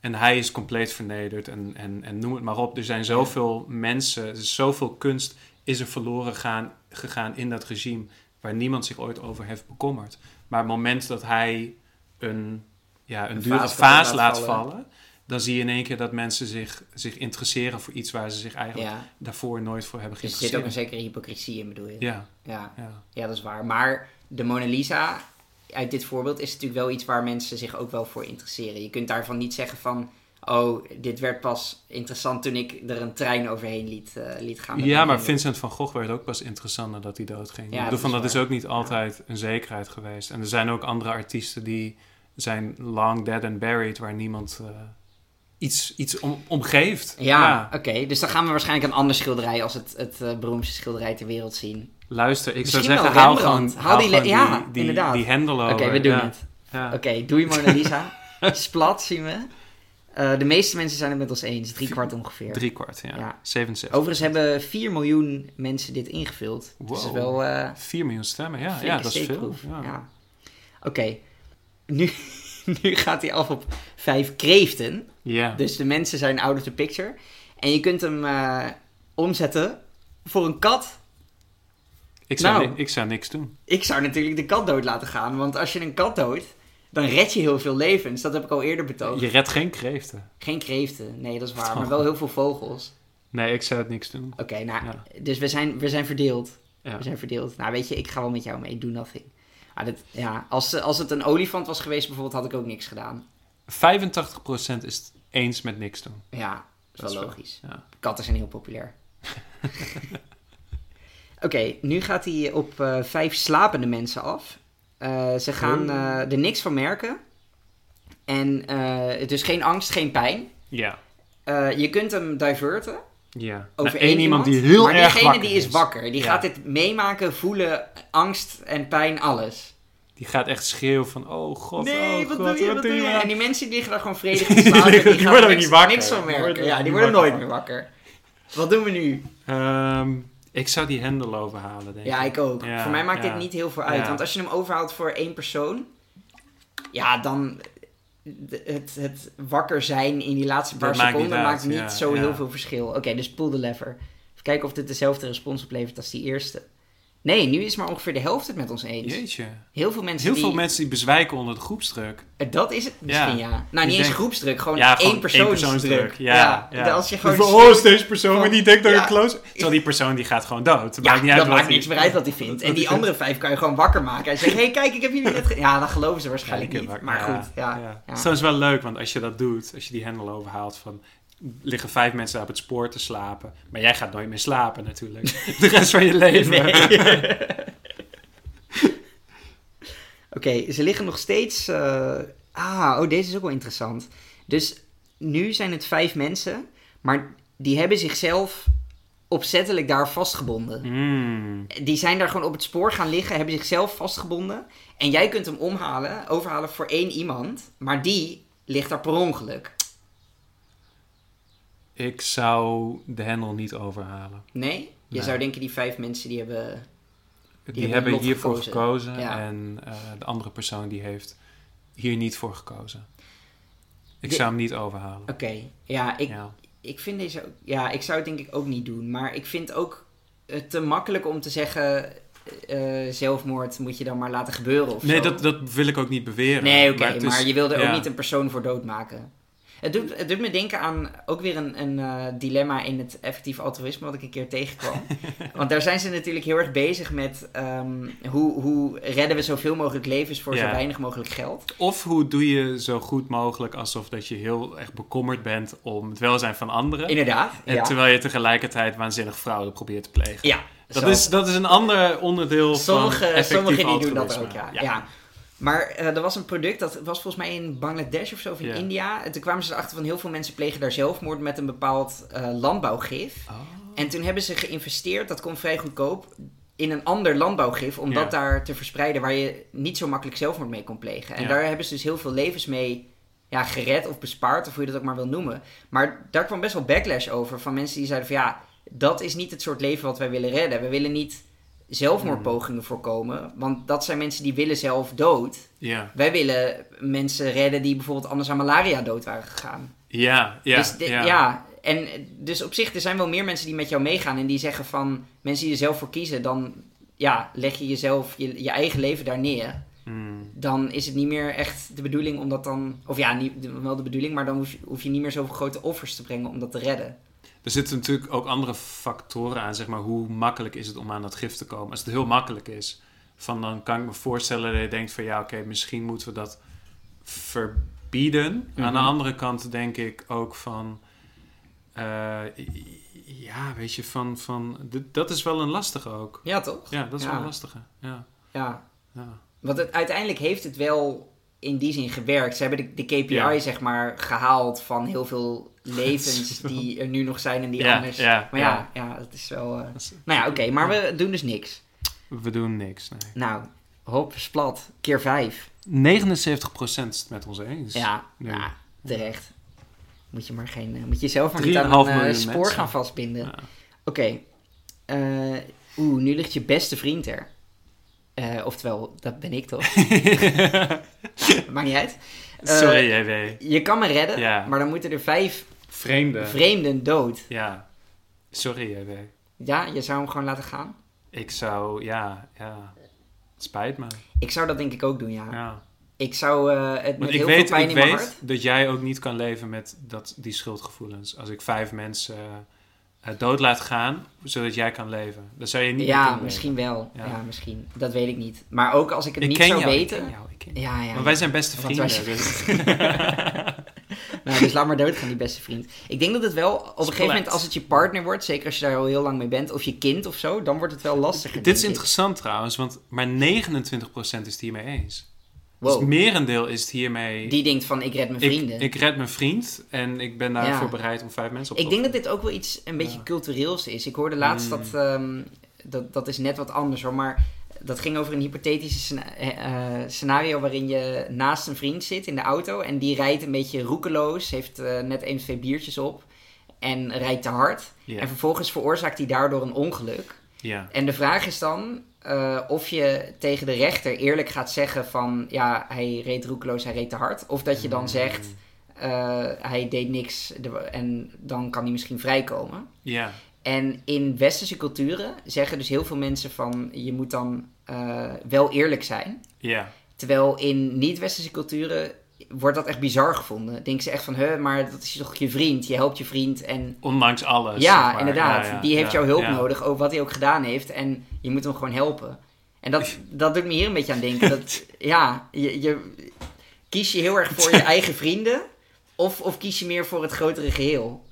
[SPEAKER 1] En hij is compleet vernederd en, en, en noem het maar op. Er zijn zoveel mensen, er is zoveel kunst is er verloren gaan, gegaan in dat regime... waar niemand zich ooit over heeft bekommerd. Maar het moment dat hij een, ja, een,
[SPEAKER 2] Een
[SPEAKER 1] dure
[SPEAKER 2] vaas
[SPEAKER 1] vaas,
[SPEAKER 2] kapot laat
[SPEAKER 1] laat
[SPEAKER 2] vallen.
[SPEAKER 1] vallen... dan zie je in één keer dat mensen zich, zich interesseren voor iets... waar ze zich eigenlijk
[SPEAKER 2] ja.
[SPEAKER 1] daarvoor nooit voor hebben
[SPEAKER 2] Dus er zit ook een
[SPEAKER 1] geïnteresseerd.
[SPEAKER 2] zekere hypocrisie in, bedoel je?
[SPEAKER 1] Ja,
[SPEAKER 2] Ja.
[SPEAKER 1] ja,
[SPEAKER 2] Ja, dat is waar. Maar de Mona Lisa uit dit voorbeeld is natuurlijk wel iets waar mensen zich ook wel voor interesseren. Je kunt daarvan niet zeggen van... Oh, dit werd pas interessant toen ik er een trein overheen liet, eh, liet gaan. met
[SPEAKER 1] ja,
[SPEAKER 2] een
[SPEAKER 1] maar
[SPEAKER 2] vriendin.
[SPEAKER 1] Vincent van Gogh werd ook pas interessant nadat hij doodging.
[SPEAKER 2] Ja,
[SPEAKER 1] ik
[SPEAKER 2] dat
[SPEAKER 1] bedoel, van,
[SPEAKER 2] is
[SPEAKER 1] dat is
[SPEAKER 2] waar.
[SPEAKER 1] ook niet altijd een zekerheid geweest. En er zijn ook andere artiesten die zijn long dead and buried, waar niemand eh, iets, iets om, omgeeft.
[SPEAKER 2] Ja, oké. Dus dan gaan we waarschijnlijk een ander schilderij als het, het eh, beroemdste schilderij ter wereld zien.
[SPEAKER 1] Luister, ik
[SPEAKER 2] Misschien
[SPEAKER 1] zou zeggen,
[SPEAKER 2] wel
[SPEAKER 1] haal
[SPEAKER 2] Rembrandt.
[SPEAKER 1] gewoon,
[SPEAKER 2] Haal die le-
[SPEAKER 1] gewoon die,
[SPEAKER 2] ja,
[SPEAKER 1] die,
[SPEAKER 2] inderdaad.
[SPEAKER 1] die hendel
[SPEAKER 2] Oké,
[SPEAKER 1] over.
[SPEAKER 2] we doen
[SPEAKER 1] Oh, eh, Ja,
[SPEAKER 2] het.
[SPEAKER 1] ja.
[SPEAKER 2] Oké, doei Mona
[SPEAKER 1] <laughs>
[SPEAKER 2] Lisa. Splat zien we. Eh, de meeste mensen zijn het met ons eens, drie kwart ongeveer.
[SPEAKER 1] Drie kwart, ja.
[SPEAKER 2] Ja.
[SPEAKER 1] 77.
[SPEAKER 2] Overigens hebben 4 miljoen mensen dit ingevuld. Dus dat is
[SPEAKER 1] Wow.
[SPEAKER 2] wel eh, een
[SPEAKER 1] 4 miljoen stemmen, ja,
[SPEAKER 2] flinke
[SPEAKER 1] Ah, ja dat is veel.
[SPEAKER 2] steekproef.
[SPEAKER 1] Ja.
[SPEAKER 2] Ja. Oké, nu, <laughs> nu gaat hij af op vijf kreeften.
[SPEAKER 1] Ja.
[SPEAKER 2] Dus de mensen zijn out of the picture. En je kunt hem eh, omzetten voor een kat.
[SPEAKER 1] Ik, zou
[SPEAKER 2] Nou.
[SPEAKER 1] ni- ik zou niks doen.
[SPEAKER 2] Ik zou natuurlijk de kat dood laten gaan, want als je een kat doodt, dan red je heel veel levens. Dat heb ik al eerder betoogd.
[SPEAKER 1] Je redt geen kreeften.
[SPEAKER 2] Geen kreeften, nee, dat is waar,
[SPEAKER 1] Oh.
[SPEAKER 2] maar wel heel veel vogels.
[SPEAKER 1] Nee, ik zou het niks doen.
[SPEAKER 2] Oké, nou,
[SPEAKER 1] Ja.
[SPEAKER 2] dus we zijn, we zijn verdeeld.
[SPEAKER 1] Ja.
[SPEAKER 2] We zijn verdeeld. Nou, weet je, ik ga wel met jou mee, do nothing. Ah, dat, ja, als, eh, als het een olifant was geweest bijvoorbeeld, had ik ook niks gedaan.
[SPEAKER 1] 85% is het eens met niks doen.
[SPEAKER 2] Ja, dat
[SPEAKER 1] Dat
[SPEAKER 2] is wel
[SPEAKER 1] is wel-
[SPEAKER 2] logisch.
[SPEAKER 1] Ja.
[SPEAKER 2] Katten zijn heel populair. <laughs> Oké, nu gaat hij op eh, vijf slapende mensen af. Eh, ze gaan
[SPEAKER 1] Oh.
[SPEAKER 2] eh, er niks van merken. En eh, dus geen angst, geen pijn.
[SPEAKER 1] Ja.
[SPEAKER 2] Eh, je kunt hem diverten.
[SPEAKER 1] Ja.
[SPEAKER 2] over
[SPEAKER 1] Nou,
[SPEAKER 2] één iemand,
[SPEAKER 1] die heel
[SPEAKER 2] maar
[SPEAKER 1] erg
[SPEAKER 2] diegene
[SPEAKER 1] wakker
[SPEAKER 2] die is wakker, die
[SPEAKER 1] Ja.
[SPEAKER 2] gaat dit meemaken, voelen, angst en pijn, alles.
[SPEAKER 1] Die gaat echt schreeuwen van, oh god, oh god,
[SPEAKER 2] En
[SPEAKER 1] aan?
[SPEAKER 2] die mensen die liggen daar
[SPEAKER 1] <laughs>
[SPEAKER 2] gewoon vredig
[SPEAKER 1] Die
[SPEAKER 2] in slaap en
[SPEAKER 1] liggen- die
[SPEAKER 2] gaan
[SPEAKER 1] worden ook
[SPEAKER 2] niks,
[SPEAKER 1] niet wakker.
[SPEAKER 2] niks van
[SPEAKER 1] Die worden
[SPEAKER 2] merken.
[SPEAKER 1] ook
[SPEAKER 2] Ja, die
[SPEAKER 1] niet
[SPEAKER 2] worden
[SPEAKER 1] wakker.
[SPEAKER 2] nooit meer wakker. Wat doen we nu?
[SPEAKER 1] Ehm, ik zou die hendel overhalen, denk ik.
[SPEAKER 2] Ja, ik ook.
[SPEAKER 1] Ja,
[SPEAKER 2] voor mij maakt
[SPEAKER 1] ja.
[SPEAKER 2] dit niet heel veel uit,
[SPEAKER 1] Ja.
[SPEAKER 2] want als je hem overhoudt voor één persoon, ja, dan het, het, wakker zijn in die laatste paar
[SPEAKER 1] Dat maakt
[SPEAKER 2] seconden
[SPEAKER 1] niet uit,
[SPEAKER 2] maakt niet
[SPEAKER 1] ja,
[SPEAKER 2] zo
[SPEAKER 1] ja.
[SPEAKER 2] heel veel verschil. Oké, dus pull the lever. Even kijken of dit dezelfde respons oplevert als die eerste. Nee, nu is maar ongeveer de helft het met ons eens.
[SPEAKER 1] Jeetje.
[SPEAKER 2] Heel veel mensen
[SPEAKER 1] Heel
[SPEAKER 2] die... Eh,
[SPEAKER 1] veel mensen die bezwijken onder de groepsdruk.
[SPEAKER 2] Dat is het misschien, ja. Nou,
[SPEAKER 1] Ik
[SPEAKER 2] niet eens
[SPEAKER 1] denk-
[SPEAKER 2] groepsdruk, gewoon
[SPEAKER 1] Ja, gewoon
[SPEAKER 2] één persoonsdruk.
[SPEAKER 1] éénpersoonsdruk. Ja, ja. <laughs>
[SPEAKER 2] Als je gewoon...
[SPEAKER 1] Van, oh, is deze persoon, maar die denkt dat
[SPEAKER 2] Ja.
[SPEAKER 1] ik close... Terwijl die persoon, die gaat gewoon dood. Het
[SPEAKER 2] Ja,
[SPEAKER 1] maakt niet uit
[SPEAKER 2] dat
[SPEAKER 1] wat
[SPEAKER 2] maakt
[SPEAKER 1] hij-
[SPEAKER 2] niks meer uit wat hij vindt.
[SPEAKER 1] <laughs> wat
[SPEAKER 2] en die
[SPEAKER 1] hij
[SPEAKER 2] andere vijf kan je gewoon wakker maken. Hij zegt, hé, hey, kijk, ik heb jullie net... ge-" Ja, dan geloven ze
[SPEAKER 1] Ja, die
[SPEAKER 2] waarschijnlijk
[SPEAKER 1] kunnen
[SPEAKER 2] niet.
[SPEAKER 1] wakker-
[SPEAKER 2] Maar goed, ja.
[SPEAKER 1] ja.
[SPEAKER 2] ja.
[SPEAKER 1] Het
[SPEAKER 2] <laughs>
[SPEAKER 1] is trouwens wel leuk, want als je dat doet, als je die hendel overhaalt van... Liggen vijf mensen daar op het spoor te slapen. Maar jij gaat nooit meer slapen
[SPEAKER 2] <laughs>
[SPEAKER 1] natuurlijk. De rest van je leven.
[SPEAKER 2] Nee. <laughs> Oké, ze liggen nog steeds... eh, Ah, oh, deze is ook wel interessant. Dus nu zijn het vijf mensen, maar die hebben zichzelf opzettelijk daar vastgebonden.
[SPEAKER 1] Mm.
[SPEAKER 2] Die zijn daar gewoon op het spoor gaan liggen, hebben zichzelf vastgebonden. En jij kunt hem omhalen, overhalen voor één iemand. Maar die ligt daar per ongeluk.
[SPEAKER 1] Ik zou de hendel niet overhalen.
[SPEAKER 2] Nee? Je
[SPEAKER 1] Nee.
[SPEAKER 2] zou denken die vijf mensen die hebben...
[SPEAKER 1] Die,
[SPEAKER 2] hebben
[SPEAKER 1] hebben
[SPEAKER 2] lot
[SPEAKER 1] hiervoor
[SPEAKER 2] gekozen.
[SPEAKER 1] gekozen,
[SPEAKER 2] Ja.
[SPEAKER 1] en eh, de andere persoon die heeft hier niet voor gekozen. Ik
[SPEAKER 2] De-
[SPEAKER 1] zou hem niet overhalen.
[SPEAKER 2] Oké, ja, ik,
[SPEAKER 1] Ja.
[SPEAKER 2] ik vind deze ook... Ja, ik zou het denk ik ook niet doen. Maar ik vind ook het te makkelijk om te zeggen... eh, zelfmoord moet je dan maar laten gebeuren of
[SPEAKER 1] Nee,
[SPEAKER 2] zo.
[SPEAKER 1] dat, dat wil ik ook niet beweren.
[SPEAKER 2] Nee, oké,
[SPEAKER 1] het
[SPEAKER 2] maar,
[SPEAKER 1] is-
[SPEAKER 2] je wilde
[SPEAKER 1] ja.
[SPEAKER 2] ook niet een persoon voor dood maken. Het doet, het doet me denken aan ook weer een, een eh, dilemma in het effectief altruïsme wat ik een keer
[SPEAKER 1] <laughs>
[SPEAKER 2] tegenkwam. Want daar zijn ze natuurlijk heel erg bezig met ehm, hoe, hoe redden we zoveel mogelijk levens voor
[SPEAKER 1] Ja.
[SPEAKER 2] zo weinig mogelijk geld.
[SPEAKER 1] Of hoe doe je zo goed mogelijk alsof dat je heel erg bekommerd bent om het welzijn van anderen.
[SPEAKER 2] Inderdaad.
[SPEAKER 1] en
[SPEAKER 2] ja.
[SPEAKER 1] Terwijl je tegelijkertijd waanzinnig fraude probeert te plegen.
[SPEAKER 2] ja
[SPEAKER 1] Dat
[SPEAKER 2] zo.
[SPEAKER 1] is, dat is een ander onderdeel van
[SPEAKER 2] Sommige,
[SPEAKER 1] effectief
[SPEAKER 2] sommige die doen dat
[SPEAKER 1] altruïsme.
[SPEAKER 2] ook, ja. ja. Maar eh, er was een product, dat was volgens mij in Bangladesh of zo, of in
[SPEAKER 1] Ja.
[SPEAKER 2] India. En toen kwamen ze erachter van heel veel mensen plegen daar zelfmoord met een bepaald eh, landbouwgif. En toen hebben ze geïnvesteerd, dat komt vrij goedkoop, in een ander landbouwgif. Om
[SPEAKER 1] Ja.
[SPEAKER 2] dat daar te verspreiden waar je niet zo makkelijk zelfmoord mee kon plegen. En
[SPEAKER 1] Ja.
[SPEAKER 2] daar hebben ze dus heel veel levens mee ja, gered of bespaard, of hoe je dat ook maar wil noemen. Maar daar kwam best wel backlash over van mensen die zeiden van ja, dat is niet het soort leven wat wij willen redden. We willen niet zelfmoordpogingen voorkomen, want dat zijn mensen die willen zelf dood.
[SPEAKER 1] Ja,
[SPEAKER 2] Wij willen mensen redden die bijvoorbeeld anders aan malaria dood waren gegaan
[SPEAKER 1] ja, ja.
[SPEAKER 2] dus de-
[SPEAKER 1] ja.
[SPEAKER 2] ja. en dus op zich, er zijn wel meer mensen die met jou meegaan en die zeggen van mensen die er zelf voor kiezen, dan ja, leg je jezelf, je, je eigen leven daar neer.
[SPEAKER 1] Hmm.
[SPEAKER 2] Dan is het niet meer echt de bedoeling om dat dan, of ja, niet, wel de bedoeling, maar dan hoef je, hoef je niet meer zoveel grote offers te brengen om dat te redden.
[SPEAKER 1] Er zitten natuurlijk ook andere factoren aan, zeg maar, hoe makkelijk is het om aan dat gif te komen. Als het heel makkelijk is, van, dan kan ik me voorstellen dat je denkt van ja, oké, misschien moeten we dat verbieden. Aan de
[SPEAKER 2] Mhm.
[SPEAKER 1] andere kant denk ik ook van, eh, ja, weet je, van, van d- dat is wel een lastige ook.
[SPEAKER 2] Ja, toch?
[SPEAKER 1] Ja, dat is wel
[SPEAKER 2] Ja.
[SPEAKER 1] een lastige. Ja,
[SPEAKER 2] Ja.
[SPEAKER 1] ja.
[SPEAKER 2] Want het, uiteindelijk heeft het wel in die zin gewerkt. Ze hebben de, de KPI,
[SPEAKER 1] Ja.
[SPEAKER 2] zeg maar, gehaald van heel
[SPEAKER 1] <laughs>
[SPEAKER 2] veel levens die er nu nog zijn en die
[SPEAKER 1] Ja,
[SPEAKER 2] anders.
[SPEAKER 1] ja,
[SPEAKER 2] maar ja, ja. dat is wel. eh,
[SPEAKER 1] Dat is-
[SPEAKER 2] Nou ja, oké, maar we doen dus niks.
[SPEAKER 1] We doen niks, nee.
[SPEAKER 2] Nou, hop, splat, keer vijf.
[SPEAKER 1] 79% is het met ons eens. <laughs>
[SPEAKER 2] Ja, <laughs>
[SPEAKER 1] nee.
[SPEAKER 2] ja, terecht. Moet je, maar geen, eh, moet je zelf maar niet aan
[SPEAKER 1] 3,5
[SPEAKER 2] een eh,
[SPEAKER 1] miljoen
[SPEAKER 2] spoor
[SPEAKER 1] mensen.
[SPEAKER 2] gaan vastbinden.
[SPEAKER 1] Ja.
[SPEAKER 2] Oké. eh, Oeh, nu ligt je beste vriend er. Eh, oftewel, dat ben ik
[SPEAKER 1] <laughs>
[SPEAKER 2] toch? Eh, Maakt niet uit. Eh,
[SPEAKER 1] Sorry, JW.
[SPEAKER 2] Je kan me redden,
[SPEAKER 1] Ja.
[SPEAKER 2] maar dan moeten er vijf
[SPEAKER 1] Vreemde.
[SPEAKER 2] vreemden dood.
[SPEAKER 1] Ja. Sorry, JW.
[SPEAKER 2] Ja, je zou hem gewoon laten gaan?
[SPEAKER 1] Ik zou, ja, ja. Het spijt me.
[SPEAKER 2] Ik zou dat denk ik ook doen, ja.
[SPEAKER 1] Ja.
[SPEAKER 2] Ik zou eh, het met
[SPEAKER 1] Want ik
[SPEAKER 2] heel
[SPEAKER 1] weet,
[SPEAKER 2] veel pijn
[SPEAKER 1] ik
[SPEAKER 2] in mijn hart...
[SPEAKER 1] weet dat jij ook niet kan leven met dat, die schuldgevoelens. Als ik vijf mensen eh, eh, dood laat gaan, zodat jij kan leven. Dan zou je niet meer
[SPEAKER 2] Ja,
[SPEAKER 1] kunnen
[SPEAKER 2] misschien wel. Ja.
[SPEAKER 1] Ja.
[SPEAKER 2] misschien. Dat weet ik niet. Maar ook als ik het
[SPEAKER 1] leven. Ik
[SPEAKER 2] niet
[SPEAKER 1] ken
[SPEAKER 2] zou
[SPEAKER 1] jou,
[SPEAKER 2] weten.
[SPEAKER 1] Ik ken jou, ik ken jou.
[SPEAKER 2] Ja, ja.
[SPEAKER 1] Maar wij zijn beste
[SPEAKER 2] Want wij
[SPEAKER 1] vrienden. dus-
[SPEAKER 2] <laughs> Nou, dus laat maar doodgaan, die beste vriend. Ik denk dat het wel op een gegeven
[SPEAKER 1] Splat.
[SPEAKER 2] moment, als het je partner wordt, zeker als je daar al heel lang mee bent, of je kind of zo, dan wordt het wel
[SPEAKER 1] <laughs>
[SPEAKER 2] lastiger.
[SPEAKER 1] Dit is
[SPEAKER 2] denk ik.
[SPEAKER 1] interessant trouwens, want maar 29% is het hiermee eens. Dus het
[SPEAKER 2] Wow.
[SPEAKER 1] merendeel is het hiermee...
[SPEAKER 2] Die denkt van: ik red mijn
[SPEAKER 1] ik,
[SPEAKER 2] vrienden. Ik,
[SPEAKER 1] ik red mijn vriend en ik ben daarvoor
[SPEAKER 2] Ja.
[SPEAKER 1] bereid om vijf mensen op te
[SPEAKER 2] denk dat dit ook wel iets een beetje
[SPEAKER 1] Ja.
[SPEAKER 2] cultureels is. Ik hoorde laatst
[SPEAKER 1] Mm.
[SPEAKER 2] dat, ehm, dat. Dat is net wat anders hoor. Maar dat ging over een hypothetische scena- eh, eh, scenario waarin je naast een vriend zit in de auto. En die rijdt een beetje roekeloos, heeft eh, net één of twee biertjes op. En rijdt te hard.
[SPEAKER 1] Ja.
[SPEAKER 2] En vervolgens veroorzaakt hij daardoor een ongeluk.
[SPEAKER 1] Ja.
[SPEAKER 2] En de vraag is dan eh, of je tegen de rechter eerlijk gaat zeggen van... ja, hij reed roekeloos, hij reed te hard. Of dat je dan zegt, eh, hij deed niks de- en dan kan hij misschien vrijkomen.
[SPEAKER 1] Ja.
[SPEAKER 2] En in westerse culturen zeggen dus heel veel mensen van... je moet dan eh, wel eerlijk zijn.
[SPEAKER 1] Ja.
[SPEAKER 2] Terwijl in niet-westerse culturen wordt dat echt bizar gevonden. Denken ze echt van, hè, maar dat is toch je vriend. Je helpt je vriend en...
[SPEAKER 1] Ondanks alles.
[SPEAKER 2] Ja,
[SPEAKER 1] zeg maar.
[SPEAKER 2] inderdaad.
[SPEAKER 1] Ja, ja,
[SPEAKER 2] die heeft
[SPEAKER 1] ja,
[SPEAKER 2] jouw hulp
[SPEAKER 1] ja.
[SPEAKER 2] nodig, ook wat hij ook gedaan heeft. En je moet hem gewoon helpen. En dat, dat doet me hier een beetje aan denken.
[SPEAKER 1] <laughs>
[SPEAKER 2] Dat, ja, je, je, kies je heel erg voor je eigen vrienden... Of, of kies je meer voor het grotere geheel?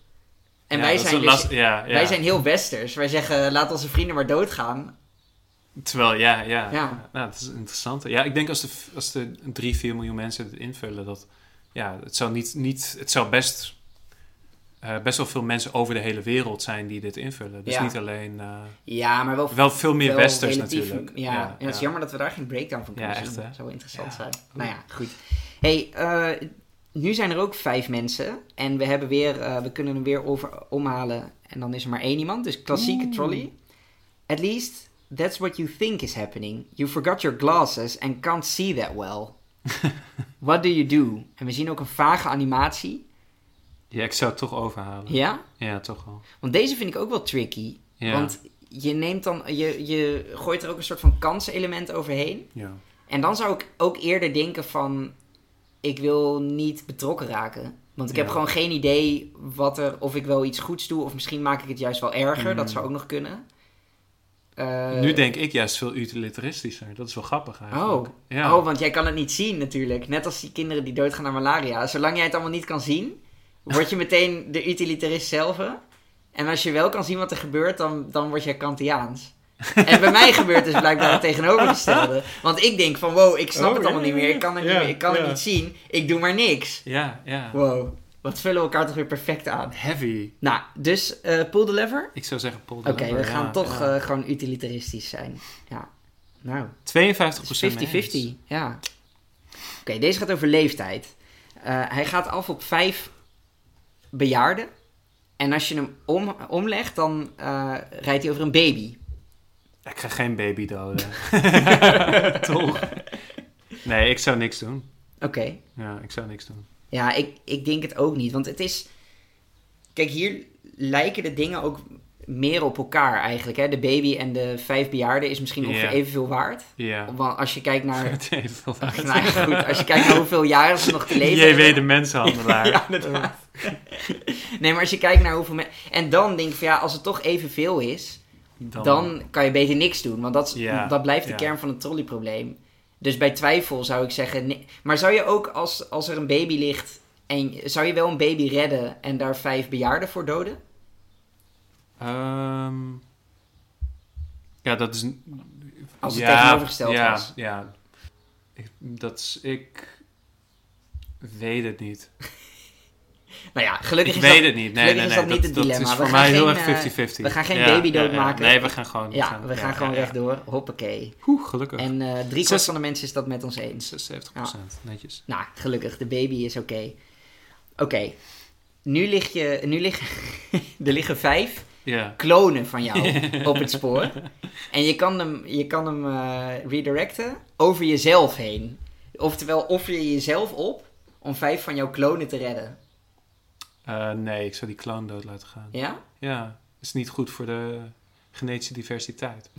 [SPEAKER 2] En
[SPEAKER 1] Ja,
[SPEAKER 2] wij,
[SPEAKER 1] dat is
[SPEAKER 2] zijn
[SPEAKER 1] een
[SPEAKER 2] dus-
[SPEAKER 1] last- ja, ja.
[SPEAKER 2] wij zijn heel westers. Wij zeggen, laat onze vrienden maar doodgaan.
[SPEAKER 1] Terwijl, ja, ja.
[SPEAKER 2] Ja.
[SPEAKER 1] Nou, dat is interessant. Ja, ik denk als de, als de 3, 4 miljoen mensen het invullen, dat. Ja, het zou, niet, niet, het zou best. eh, best wel veel mensen over de hele wereld zijn die dit invullen. Dus
[SPEAKER 2] Ja.
[SPEAKER 1] niet alleen. eh,
[SPEAKER 2] Ja, maar wel...
[SPEAKER 1] wel veel meer
[SPEAKER 2] wel
[SPEAKER 1] westers
[SPEAKER 2] relatief-
[SPEAKER 1] natuurlijk.
[SPEAKER 2] Ja, en dat is jammer dat we daar geen breakdown van kunnen
[SPEAKER 1] Ja, echt,
[SPEAKER 2] zien.
[SPEAKER 1] hè?
[SPEAKER 2] Dat zou wel interessant
[SPEAKER 1] Ja.
[SPEAKER 2] zijn. Nou ja, goed. hey, eh, nu zijn er ook vijf mensen. En we, hebben weer, eh, we kunnen hem weer over, omhalen. En dan is er maar één iemand. Dus klassieke
[SPEAKER 1] Oeh.
[SPEAKER 2] trolley. At least that's what you think is happening. You forgot your glasses and can't see
[SPEAKER 1] <laughs>
[SPEAKER 2] that well. What do you do? En we zien ook een vage animatie.
[SPEAKER 1] Ja, ik zou het toch overhalen.
[SPEAKER 2] Ja?
[SPEAKER 1] Ja, toch wel.
[SPEAKER 2] Want deze vind ik ook wel tricky.
[SPEAKER 1] Ja.
[SPEAKER 2] Want je neemt dan, je, je gooit er ook een soort van kansenelement overheen.
[SPEAKER 1] Ja.
[SPEAKER 2] En dan zou ik ook eerder denken van, ik wil niet betrokken raken. Want ik heb
[SPEAKER 1] Ja.
[SPEAKER 2] gewoon geen idee wat er, of ik wel iets goeds doe, of misschien maak ik het juist wel erger. Dat zou ook nog kunnen. Eh,
[SPEAKER 1] Mm. nu denk ik juist veel utilitaristischer. Dat is wel grappig eigenlijk.
[SPEAKER 2] Oh.
[SPEAKER 1] ja.
[SPEAKER 2] Oh, want jij kan het niet zien natuurlijk. Net als die kinderen die doodgaan aan malaria. Zolang jij het allemaal niet kan zien,
[SPEAKER 1] <laughs>
[SPEAKER 2] word je meteen de utilitarist zelf. En als je wel kan zien wat er gebeurt, dan, dan word jij Kantiaans. En bij mij gebeurt dus blijkbaar het tegenovergestelde. Want ik denk van, wow, ik snap
[SPEAKER 1] Oh,
[SPEAKER 2] het allemaal
[SPEAKER 1] ja,
[SPEAKER 2] niet meer. Ik kan, het, niet
[SPEAKER 1] ja,
[SPEAKER 2] meer. Ik kan
[SPEAKER 1] ja.
[SPEAKER 2] het niet zien. Ik doe maar niks.
[SPEAKER 1] ja, ja.
[SPEAKER 2] Wow, wat vullen we elkaar toch weer perfect aan.
[SPEAKER 1] Heavy.
[SPEAKER 2] Nou, dus eh pull the lever.
[SPEAKER 1] Ik zou zeggen Paul de
[SPEAKER 2] Oké,
[SPEAKER 1] Leeuwer,
[SPEAKER 2] we gaan
[SPEAKER 1] ja,
[SPEAKER 2] toch
[SPEAKER 1] ja.
[SPEAKER 2] eh, gewoon utilitaristisch zijn. Ja, nou...
[SPEAKER 1] 52
[SPEAKER 2] Het is 50-50, ja. Oké, deze gaat over leeftijd. Eh, hij gaat af op vijf bejaarden. En als je hem om, omlegt, dan eh, rijdt hij over een baby.
[SPEAKER 1] Ik ga geen baby
[SPEAKER 2] <laughs>
[SPEAKER 1] doden. toch? Nee, ik zou niks doen.
[SPEAKER 2] Oké.
[SPEAKER 1] Ja, ik zou niks doen.
[SPEAKER 2] Ja, ik, ik denk het ook niet. Want het is... Kijk, hier lijken de dingen ook meer op elkaar eigenlijk. Hè? De baby en de vijf bejaarden is misschien ongeveer
[SPEAKER 1] Ja.
[SPEAKER 2] evenveel waard.
[SPEAKER 1] <laughs> Ja.
[SPEAKER 2] Want als je kijkt
[SPEAKER 1] <laughs>
[SPEAKER 2] naar... <laughs>
[SPEAKER 1] Het heeft wel
[SPEAKER 2] Ach, nou, goed, als je kijkt naar hoeveel jaren ze nog te
[SPEAKER 1] <laughs>
[SPEAKER 2] leven
[SPEAKER 1] Jij
[SPEAKER 2] hebben.
[SPEAKER 1] weet de mensenhandelaar.
[SPEAKER 2] <laughs> Ja, inderdaad. nee, maar als je kijkt naar hoeveel mensen... En dan denk ik van ja, als het toch evenveel is, dan, kan je beter niks doen. Want dat, is-
[SPEAKER 1] Ja,
[SPEAKER 2] dat blijft de
[SPEAKER 1] ja.
[SPEAKER 2] kern van het trolleyprobleem. Dus bij twijfel zou ik zeggen... nee. Maar zou je ook als, als er een baby ligt... En zou je wel een baby redden en daar vijf bejaarden voor doden?
[SPEAKER 1] Ehm, ja, dat is... een-
[SPEAKER 2] Als het
[SPEAKER 1] Ja,
[SPEAKER 2] tegenovergesteld
[SPEAKER 1] ja,
[SPEAKER 2] was.
[SPEAKER 1] Ja, ik, dat is... Ik weet het niet.
[SPEAKER 2] Nou ja, gelukkig
[SPEAKER 1] ik
[SPEAKER 2] is
[SPEAKER 1] weet
[SPEAKER 2] dat,
[SPEAKER 1] het niet. Nee,
[SPEAKER 2] gelukkig
[SPEAKER 1] nee,
[SPEAKER 2] is
[SPEAKER 1] nee.
[SPEAKER 2] dat niet het dilemma.
[SPEAKER 1] is
[SPEAKER 2] We
[SPEAKER 1] voor
[SPEAKER 2] gaan
[SPEAKER 1] mij heel
[SPEAKER 2] geen, eh,
[SPEAKER 1] erg 50-50.
[SPEAKER 2] we gaan geen
[SPEAKER 1] Ja,
[SPEAKER 2] baby
[SPEAKER 1] ja, ja.
[SPEAKER 2] doodmaken.
[SPEAKER 1] Nee, we gaan gewoon...
[SPEAKER 2] Ja, we gaan
[SPEAKER 1] ja,
[SPEAKER 2] gewoon
[SPEAKER 1] ja, ja.
[SPEAKER 2] rechtdoor. Hoppakee.
[SPEAKER 1] Oeh, gelukkig.
[SPEAKER 2] En eh drie kwart
[SPEAKER 1] Zes-
[SPEAKER 2] van de mensen is dat met ons eens.
[SPEAKER 1] 76 netjes.
[SPEAKER 2] Nou, gelukkig, de baby is oké. Oké, nu lig je, nu lig, <laughs> er liggen vijf
[SPEAKER 1] Ja.
[SPEAKER 2] klonen van jou op het spoor. En je kan hem, je kan hem eh, redirecten over jezelf heen. Oftewel, offer je jezelf op om vijf van jouw klonen te redden.
[SPEAKER 1] Eh, nee, ik zou die clown dood laten gaan.
[SPEAKER 2] Ja?
[SPEAKER 1] Ja, is niet goed voor de genetische diversiteit. <laughs>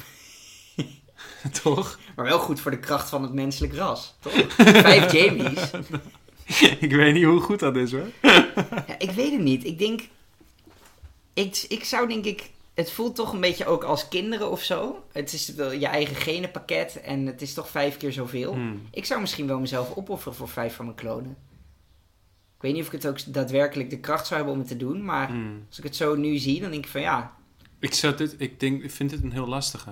[SPEAKER 1] Toch?
[SPEAKER 2] <laughs> Maar wel goed voor de kracht van het menselijk ras, toch? Vijf Jamies.
[SPEAKER 1] ik weet niet hoe goed dat is hoor.
[SPEAKER 2] Ja, ik weet het niet. Ik denk. Ik, ik zou denk ik. Het voelt toch een beetje ook als kinderen of zo. Het is wel je eigen genenpakket en het is toch vijf keer zoveel.
[SPEAKER 1] Hmm.
[SPEAKER 2] Ik zou misschien wel mezelf opofferen voor vijf van mijn klonen. Ik weet niet of ik het ook daadwerkelijk de kracht zou hebben om het te doen, maar
[SPEAKER 1] Hmm.
[SPEAKER 2] als ik het zo nu zie, dan denk ik van ja,
[SPEAKER 1] Ik, zou dit, ik, denk, ik vind dit een heel lastige.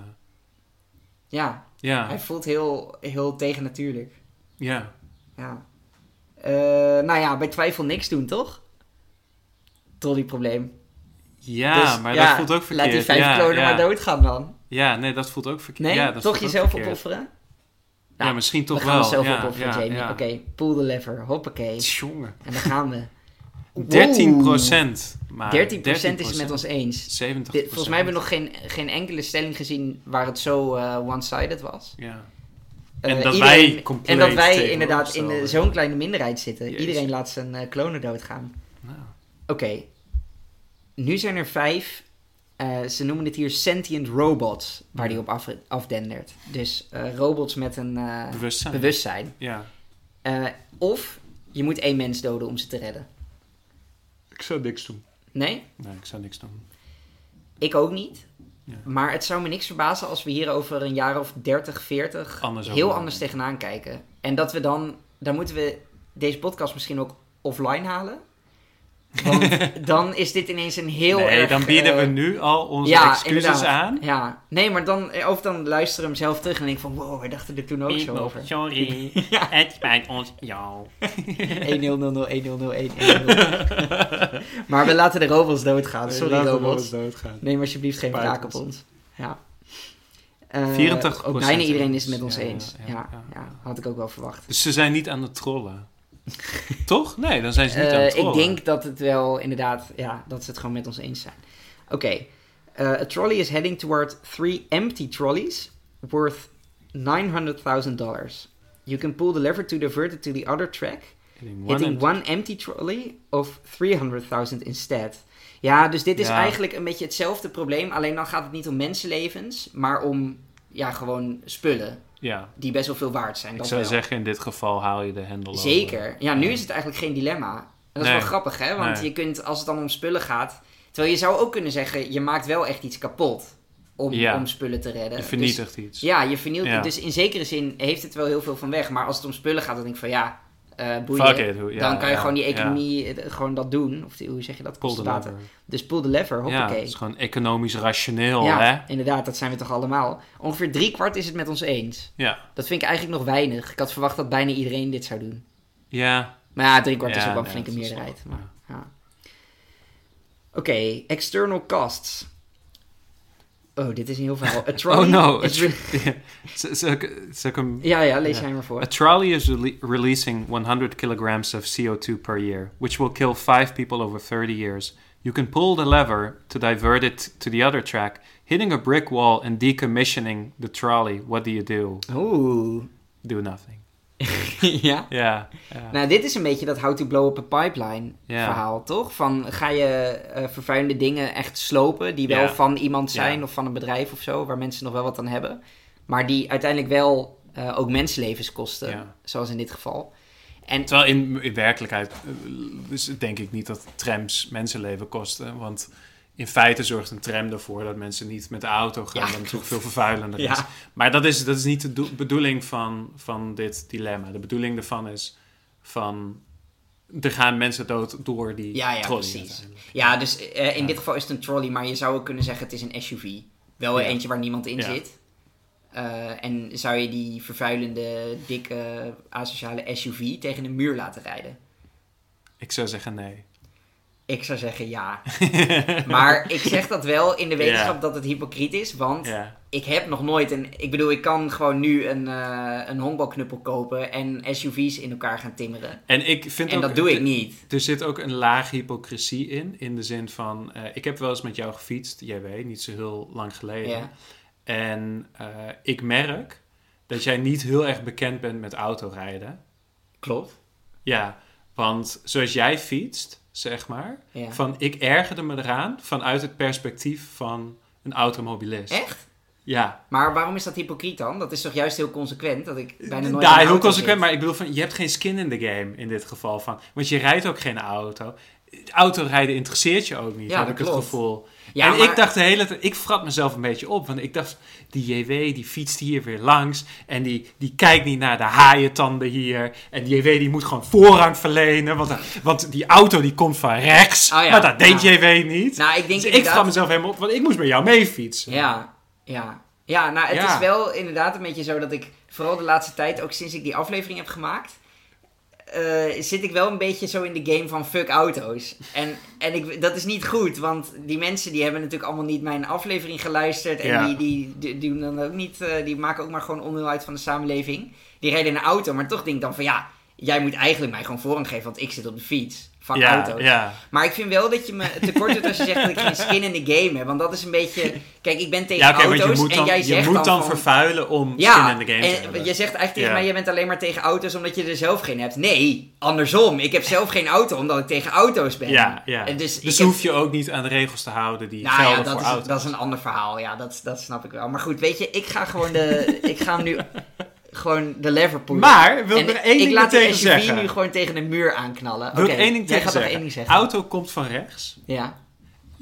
[SPEAKER 2] ja. Hij
[SPEAKER 1] Ja,
[SPEAKER 2] voelt heel, heel tegennatuurlijk.
[SPEAKER 1] ja.
[SPEAKER 2] Ja. Eh, nou ja, bij twijfel niks doen, toch? Trolleyprobleem.
[SPEAKER 1] Ja,
[SPEAKER 2] Dus,
[SPEAKER 1] maar
[SPEAKER 2] ja,
[SPEAKER 1] dat voelt ook verkeerd.
[SPEAKER 2] Laat die vijf
[SPEAKER 1] ja,
[SPEAKER 2] klonen
[SPEAKER 1] ja.
[SPEAKER 2] maar doodgaan dan.
[SPEAKER 1] Ja, nee, dat voelt ook verkeerd.
[SPEAKER 2] Nee,
[SPEAKER 1] ja, dat
[SPEAKER 2] toch
[SPEAKER 1] voelt ook
[SPEAKER 2] jezelf
[SPEAKER 1] verkeerd.
[SPEAKER 2] opofferen?
[SPEAKER 1] Ja, misschien toch
[SPEAKER 2] we
[SPEAKER 1] wel.
[SPEAKER 2] gaan onszelf
[SPEAKER 1] ja,
[SPEAKER 2] opofferen,
[SPEAKER 1] ja,
[SPEAKER 2] Jamie.
[SPEAKER 1] ja.
[SPEAKER 2] Oké, pull the lever. Hoppakee.
[SPEAKER 1] Tjonge.
[SPEAKER 2] En dan
[SPEAKER 1] <laughs>
[SPEAKER 2] gaan we.
[SPEAKER 1] 13
[SPEAKER 2] Wow. 13%
[SPEAKER 1] Maar
[SPEAKER 2] is het met ons eens.
[SPEAKER 1] 70
[SPEAKER 2] Dit, volgens mij hebben we nog geen, geen enkele stelling gezien waar het zo eh, one-sided was.
[SPEAKER 1] Ja.
[SPEAKER 2] Eh,
[SPEAKER 1] En dat
[SPEAKER 2] iedereen-
[SPEAKER 1] wij compleet
[SPEAKER 2] En dat wij
[SPEAKER 1] tegenover
[SPEAKER 2] inderdaad in
[SPEAKER 1] stonden.
[SPEAKER 2] de- zo'n kleine minderheid zitten.
[SPEAKER 1] Jezus.
[SPEAKER 2] Iedereen laat zijn eh, klonen doodgaan.
[SPEAKER 1] Nou.
[SPEAKER 2] Oké. Nu zijn er vijf. eh, ze noemen het hier sentient robots, waar die op af, afdendert. Dus eh, robots met een eh,
[SPEAKER 1] Bewustzijn.
[SPEAKER 2] bewustzijn.
[SPEAKER 1] Ja.
[SPEAKER 2] Eh, of je moet één mens doden om ze te redden.
[SPEAKER 1] Ik zou niks doen.
[SPEAKER 2] Nee,
[SPEAKER 1] Nee, ik zou niks doen.
[SPEAKER 2] ik ook niet.
[SPEAKER 1] Ja.
[SPEAKER 2] Maar het zou me niks verbazen als we hier over een jaar of 30,
[SPEAKER 1] Anders
[SPEAKER 2] 40
[SPEAKER 1] over
[SPEAKER 2] heel
[SPEAKER 1] nadenken.
[SPEAKER 2] anders tegenaan kijken. En dat we dan, dan moeten we deze podcast misschien ook offline halen.
[SPEAKER 1] <laughs>
[SPEAKER 2] Want dan is dit ineens een heel
[SPEAKER 1] nee,
[SPEAKER 2] erg,
[SPEAKER 1] dan bieden we
[SPEAKER 2] eh,
[SPEAKER 1] nu al onze
[SPEAKER 2] ja,
[SPEAKER 1] excuses
[SPEAKER 2] inderdaad.
[SPEAKER 1] aan.
[SPEAKER 2] Ja, nee, maar dan, eh, of dan luisteren we hem zelf terug en denk ik van wow, wij dachten er toen ook zo over. <laughs>
[SPEAKER 3] Sorry, het spijt ons jou.
[SPEAKER 1] <laughs>
[SPEAKER 2] 1-0-0-0-1-0-1-1-0. maar we laten de robots doodgaan. Sorry robots. Neem alsjeblieft geen
[SPEAKER 1] Spijt
[SPEAKER 2] wraak op
[SPEAKER 1] ons.
[SPEAKER 2] ons. Ja. Eh,
[SPEAKER 1] 84%
[SPEAKER 2] Ook bijna iedereen is het met
[SPEAKER 1] eens.
[SPEAKER 2] ons
[SPEAKER 1] Ja,
[SPEAKER 2] eens. Ja,
[SPEAKER 1] ja,
[SPEAKER 2] ja,
[SPEAKER 1] ja, ja.
[SPEAKER 2] had ik ook wel verwacht.
[SPEAKER 1] Dus ze zijn niet aan het trollen. <laughs> Toch? Nee, dan zijn ze niet aan
[SPEAKER 2] Eh,
[SPEAKER 1] het
[SPEAKER 2] ik
[SPEAKER 1] trollen.
[SPEAKER 2] denk dat het wel inderdaad, ja, dat ze het gewoon met ons eens zijn. Oké. Eh, a trolley is heading toward three empty trolleys worth $900,000. You can pull the lever to divert it to the other track.
[SPEAKER 1] Hitting one
[SPEAKER 2] Hitting
[SPEAKER 1] and-
[SPEAKER 2] one empty trolley of 300.000 instead. Ja, dus dit is
[SPEAKER 1] Ja.
[SPEAKER 2] eigenlijk een beetje hetzelfde probleem. Alleen dan gaat het niet om mensenlevens, maar om ja, gewoon spullen
[SPEAKER 1] Ja,
[SPEAKER 2] die best wel veel waard zijn.
[SPEAKER 1] ik
[SPEAKER 2] dat
[SPEAKER 1] zou
[SPEAKER 2] wel.
[SPEAKER 1] zeggen in dit geval haal je de hendel over.
[SPEAKER 2] Zeker. Ja, nu is het eigenlijk geen dilemma. En dat is
[SPEAKER 1] Nee.
[SPEAKER 2] wel grappig, hè? Want
[SPEAKER 1] Nee.
[SPEAKER 2] je kunt, als het dan om spullen gaat... Terwijl je zou ook kunnen zeggen, je maakt wel echt iets kapot om,
[SPEAKER 1] Ja.
[SPEAKER 2] om spullen te redden.
[SPEAKER 1] Je
[SPEAKER 2] Dus-
[SPEAKER 1] vernietigt iets.
[SPEAKER 2] ja, je vernielt
[SPEAKER 1] Ja.
[SPEAKER 2] het. Dus in zekere zin heeft het wel heel veel van weg. Maar als het om spullen gaat, dan denk ik van ja, eh boeien.
[SPEAKER 1] Fuck it, hoe- ja,
[SPEAKER 2] dan kan je
[SPEAKER 1] ja,
[SPEAKER 2] gewoon die
[SPEAKER 1] ja.
[SPEAKER 2] economie, eh, gewoon dat doen. Of die- hoe zeg je dat?
[SPEAKER 1] Pull the
[SPEAKER 2] Kostenbaten.
[SPEAKER 1] lever.
[SPEAKER 2] Dus pull the lever,
[SPEAKER 1] Ja,
[SPEAKER 2] hoppakee.
[SPEAKER 1] het is gewoon economisch rationeel,
[SPEAKER 2] Ja,
[SPEAKER 1] hè?
[SPEAKER 2] inderdaad, dat zijn we toch allemaal. Ongeveer drie kwart is het met ons eens.
[SPEAKER 1] Ja.
[SPEAKER 2] Dat vind ik eigenlijk nog weinig. Ik had verwacht dat bijna iedereen dit zou doen.
[SPEAKER 1] Ja.
[SPEAKER 2] Maar ja, drie kwart is
[SPEAKER 1] Ja,
[SPEAKER 2] ook wel een
[SPEAKER 1] nee,
[SPEAKER 2] flinke
[SPEAKER 1] dat is
[SPEAKER 2] meerderheid.
[SPEAKER 1] wel-
[SPEAKER 2] Maar, ja. Oké, external costs. Oh, dit is een heel
[SPEAKER 1] <laughs>
[SPEAKER 2] verhaal. A trolley
[SPEAKER 1] Oh no. <laughs>
[SPEAKER 2] is re-
[SPEAKER 1] Z- zal ik- zal ik hem-
[SPEAKER 2] Ja, ja, lees
[SPEAKER 1] Ja.
[SPEAKER 2] jij maar voor.
[SPEAKER 1] A trolley is rele- releasing 100 kilograms of CO2 per year, which will kill five people over 30 years. You can pull the lever to divert it to the other track, hitting a brick wall and decommissioning the trolley. What do you do?
[SPEAKER 2] Oeh.
[SPEAKER 1] Do nothing.
[SPEAKER 2] ja.
[SPEAKER 1] Ja. ja.
[SPEAKER 2] Nou, dit is een beetje dat how to blow up a pipeline
[SPEAKER 1] Ja.
[SPEAKER 2] verhaal, toch? Van ga je eh, vervuilende dingen echt slopen die wel
[SPEAKER 1] Ja.
[SPEAKER 2] van iemand zijn
[SPEAKER 1] Ja.
[SPEAKER 2] of van een bedrijf of zo, waar mensen nog wel wat aan hebben. Maar die uiteindelijk wel eh, ook mensenlevens kosten,
[SPEAKER 1] Ja.
[SPEAKER 2] zoals in dit geval. En
[SPEAKER 1] Terwijl in, in werkelijkheid eh, is het denk ik niet dat trams mensenleven kosten. Want in feite zorgt een tram ervoor dat mensen niet met de auto gaan.
[SPEAKER 2] Ja,
[SPEAKER 1] dat natuurlijk veel vervuilender
[SPEAKER 2] Ja.
[SPEAKER 1] is. Maar dat is, dat is niet de doel- bedoeling van, van dit dilemma. De bedoeling daarvan is van... Er gaan mensen dood door die
[SPEAKER 2] ja, ja,
[SPEAKER 1] trolley
[SPEAKER 2] precies.
[SPEAKER 1] uiteindelijk.
[SPEAKER 2] Ja, dus eh, in
[SPEAKER 1] Ja.
[SPEAKER 2] dit geval is het een trolley, maar je zou ook kunnen zeggen het is een SUV. Wel
[SPEAKER 1] Ja.
[SPEAKER 2] eentje waar niemand in
[SPEAKER 1] Ja.
[SPEAKER 2] zit. Eh, en zou je die vervuilende, dikke, asociale SUV tegen een muur laten rijden?
[SPEAKER 1] Ik zou zeggen nee.
[SPEAKER 2] Ik zou
[SPEAKER 1] <laughs>
[SPEAKER 2] zeggen ja. maar ik zeg dat wel in de wetenschap
[SPEAKER 1] Ja.
[SPEAKER 2] dat het hypocriet is. Want
[SPEAKER 1] Ja,
[SPEAKER 2] ik heb nog nooit een. Ik bedoel, ik kan gewoon nu een, eh, een honkbalknuppel kopen en SUV's in elkaar gaan timmeren.
[SPEAKER 1] en ik vind
[SPEAKER 2] En
[SPEAKER 1] ook-
[SPEAKER 2] dat doe ik niet.
[SPEAKER 1] Er zit ook een laag hypocrisie in. In de zin van, eh, ik heb wel eens met jou gefietst, jij weet, niet zo heel lang geleden.
[SPEAKER 2] Ja.
[SPEAKER 1] En eh, ik merk dat jij niet heel erg bekend bent met autorijden.
[SPEAKER 2] Klopt.
[SPEAKER 1] Ja, want zoals jij fietst, zeg maar,
[SPEAKER 2] Ja.
[SPEAKER 1] van ik ergerde me eraan vanuit het perspectief van een automobilist.
[SPEAKER 2] Echt?
[SPEAKER 1] Ja,
[SPEAKER 2] Maar waarom is dat hypocriet dan? Dat is toch juist heel consequent dat ik bijna nooit. in
[SPEAKER 1] ja
[SPEAKER 2] een
[SPEAKER 1] heel
[SPEAKER 2] auto
[SPEAKER 1] consequent,
[SPEAKER 2] zit?
[SPEAKER 1] maar ik bedoel van, je hebt geen skin in the game in dit geval van, want je rijdt ook geen auto. Autorijden interesseert je ook niet,
[SPEAKER 2] Ja,
[SPEAKER 1] heb
[SPEAKER 2] dat
[SPEAKER 1] ik
[SPEAKER 2] klopt.
[SPEAKER 1] het gevoel.
[SPEAKER 2] Ja,
[SPEAKER 1] en
[SPEAKER 2] maar-
[SPEAKER 1] ik dacht de hele tijd, ik vrat mezelf een beetje op. Want ik dacht, die JW die fietst hier weer langs. En die, die kijkt niet naar de haaientanden hier. En die JW die moet gewoon voorrang verlenen. Want, want die auto die komt van rechts.
[SPEAKER 2] Oh ja,
[SPEAKER 1] maar dat deed
[SPEAKER 2] ja.
[SPEAKER 1] JW niet.
[SPEAKER 2] Nou, ik denk
[SPEAKER 1] dus ik
[SPEAKER 2] inderdaad-
[SPEAKER 1] vrat mezelf helemaal op, want ik moest met jou mee fietsen.
[SPEAKER 2] Ja, ja. Ja, nou, het
[SPEAKER 1] Ja.
[SPEAKER 2] is wel inderdaad een beetje zo dat ik, vooral de laatste tijd, ook sinds ik die aflevering heb gemaakt, eh, zit ik wel een beetje zo in de game van fuck auto's. En, en ik, dat is niet goed, want die mensen die hebben natuurlijk allemaal niet mijn aflevering geluisterd. En
[SPEAKER 1] Ja.
[SPEAKER 2] die, die, die, die doen dan ook niet, eh, die maken ook maar gewoon onderdeel uit van de samenleving. Die rijden in een auto, maar toch denk ik dan van ja, jij moet eigenlijk mij gewoon voorrang geven, want ik zit op de fiets. Fuck
[SPEAKER 1] ja,
[SPEAKER 2] auto's.
[SPEAKER 1] ja.
[SPEAKER 2] Maar ik vind wel dat je me tekort doet als je zegt dat ik geen skin in de game heb. Want dat is een beetje... Kijk, ik ben tegen
[SPEAKER 1] Ja, oké, want
[SPEAKER 2] auto's
[SPEAKER 1] je moet
[SPEAKER 2] en
[SPEAKER 1] dan,
[SPEAKER 2] jij
[SPEAKER 1] je
[SPEAKER 2] zegt
[SPEAKER 1] moet dan,
[SPEAKER 2] dan van...
[SPEAKER 1] vervuilen om
[SPEAKER 2] Ja,
[SPEAKER 1] skin in the game te
[SPEAKER 2] en
[SPEAKER 1] hebben.
[SPEAKER 2] je zegt eigenlijk tegen
[SPEAKER 1] Ja.
[SPEAKER 2] mij, je bent alleen maar tegen auto's omdat je er zelf geen hebt. Nee, andersom. Ik heb zelf geen auto omdat ik tegen auto's ben.
[SPEAKER 1] Ja, ja.
[SPEAKER 2] En
[SPEAKER 1] Dus,
[SPEAKER 2] Dus, ik heb-
[SPEAKER 1] hoef je ook niet aan de regels te houden die
[SPEAKER 2] nou
[SPEAKER 1] gelden
[SPEAKER 2] ja, dat
[SPEAKER 1] voor
[SPEAKER 2] is,
[SPEAKER 1] auto's.
[SPEAKER 2] dat is een ander verhaal. Ja, dat, dat snap ik wel. Maar goed, weet je, ik ga gewoon de...
[SPEAKER 1] <laughs>
[SPEAKER 2] ik ga hem nu gewoon de lever poelen.
[SPEAKER 1] Maar, wil
[SPEAKER 2] En
[SPEAKER 1] ik er één
[SPEAKER 2] ik
[SPEAKER 1] ding
[SPEAKER 2] laat
[SPEAKER 1] tegen
[SPEAKER 2] die SUV
[SPEAKER 1] zeggen?
[SPEAKER 2] nu gewoon tegen de muur aanknallen.
[SPEAKER 1] Wil
[SPEAKER 2] Oké,
[SPEAKER 1] ik één ding
[SPEAKER 2] jij
[SPEAKER 1] tegen
[SPEAKER 2] gaat nog
[SPEAKER 1] zeggen?
[SPEAKER 2] één ding zeggen.
[SPEAKER 1] Auto komt van rechts.
[SPEAKER 2] Ja,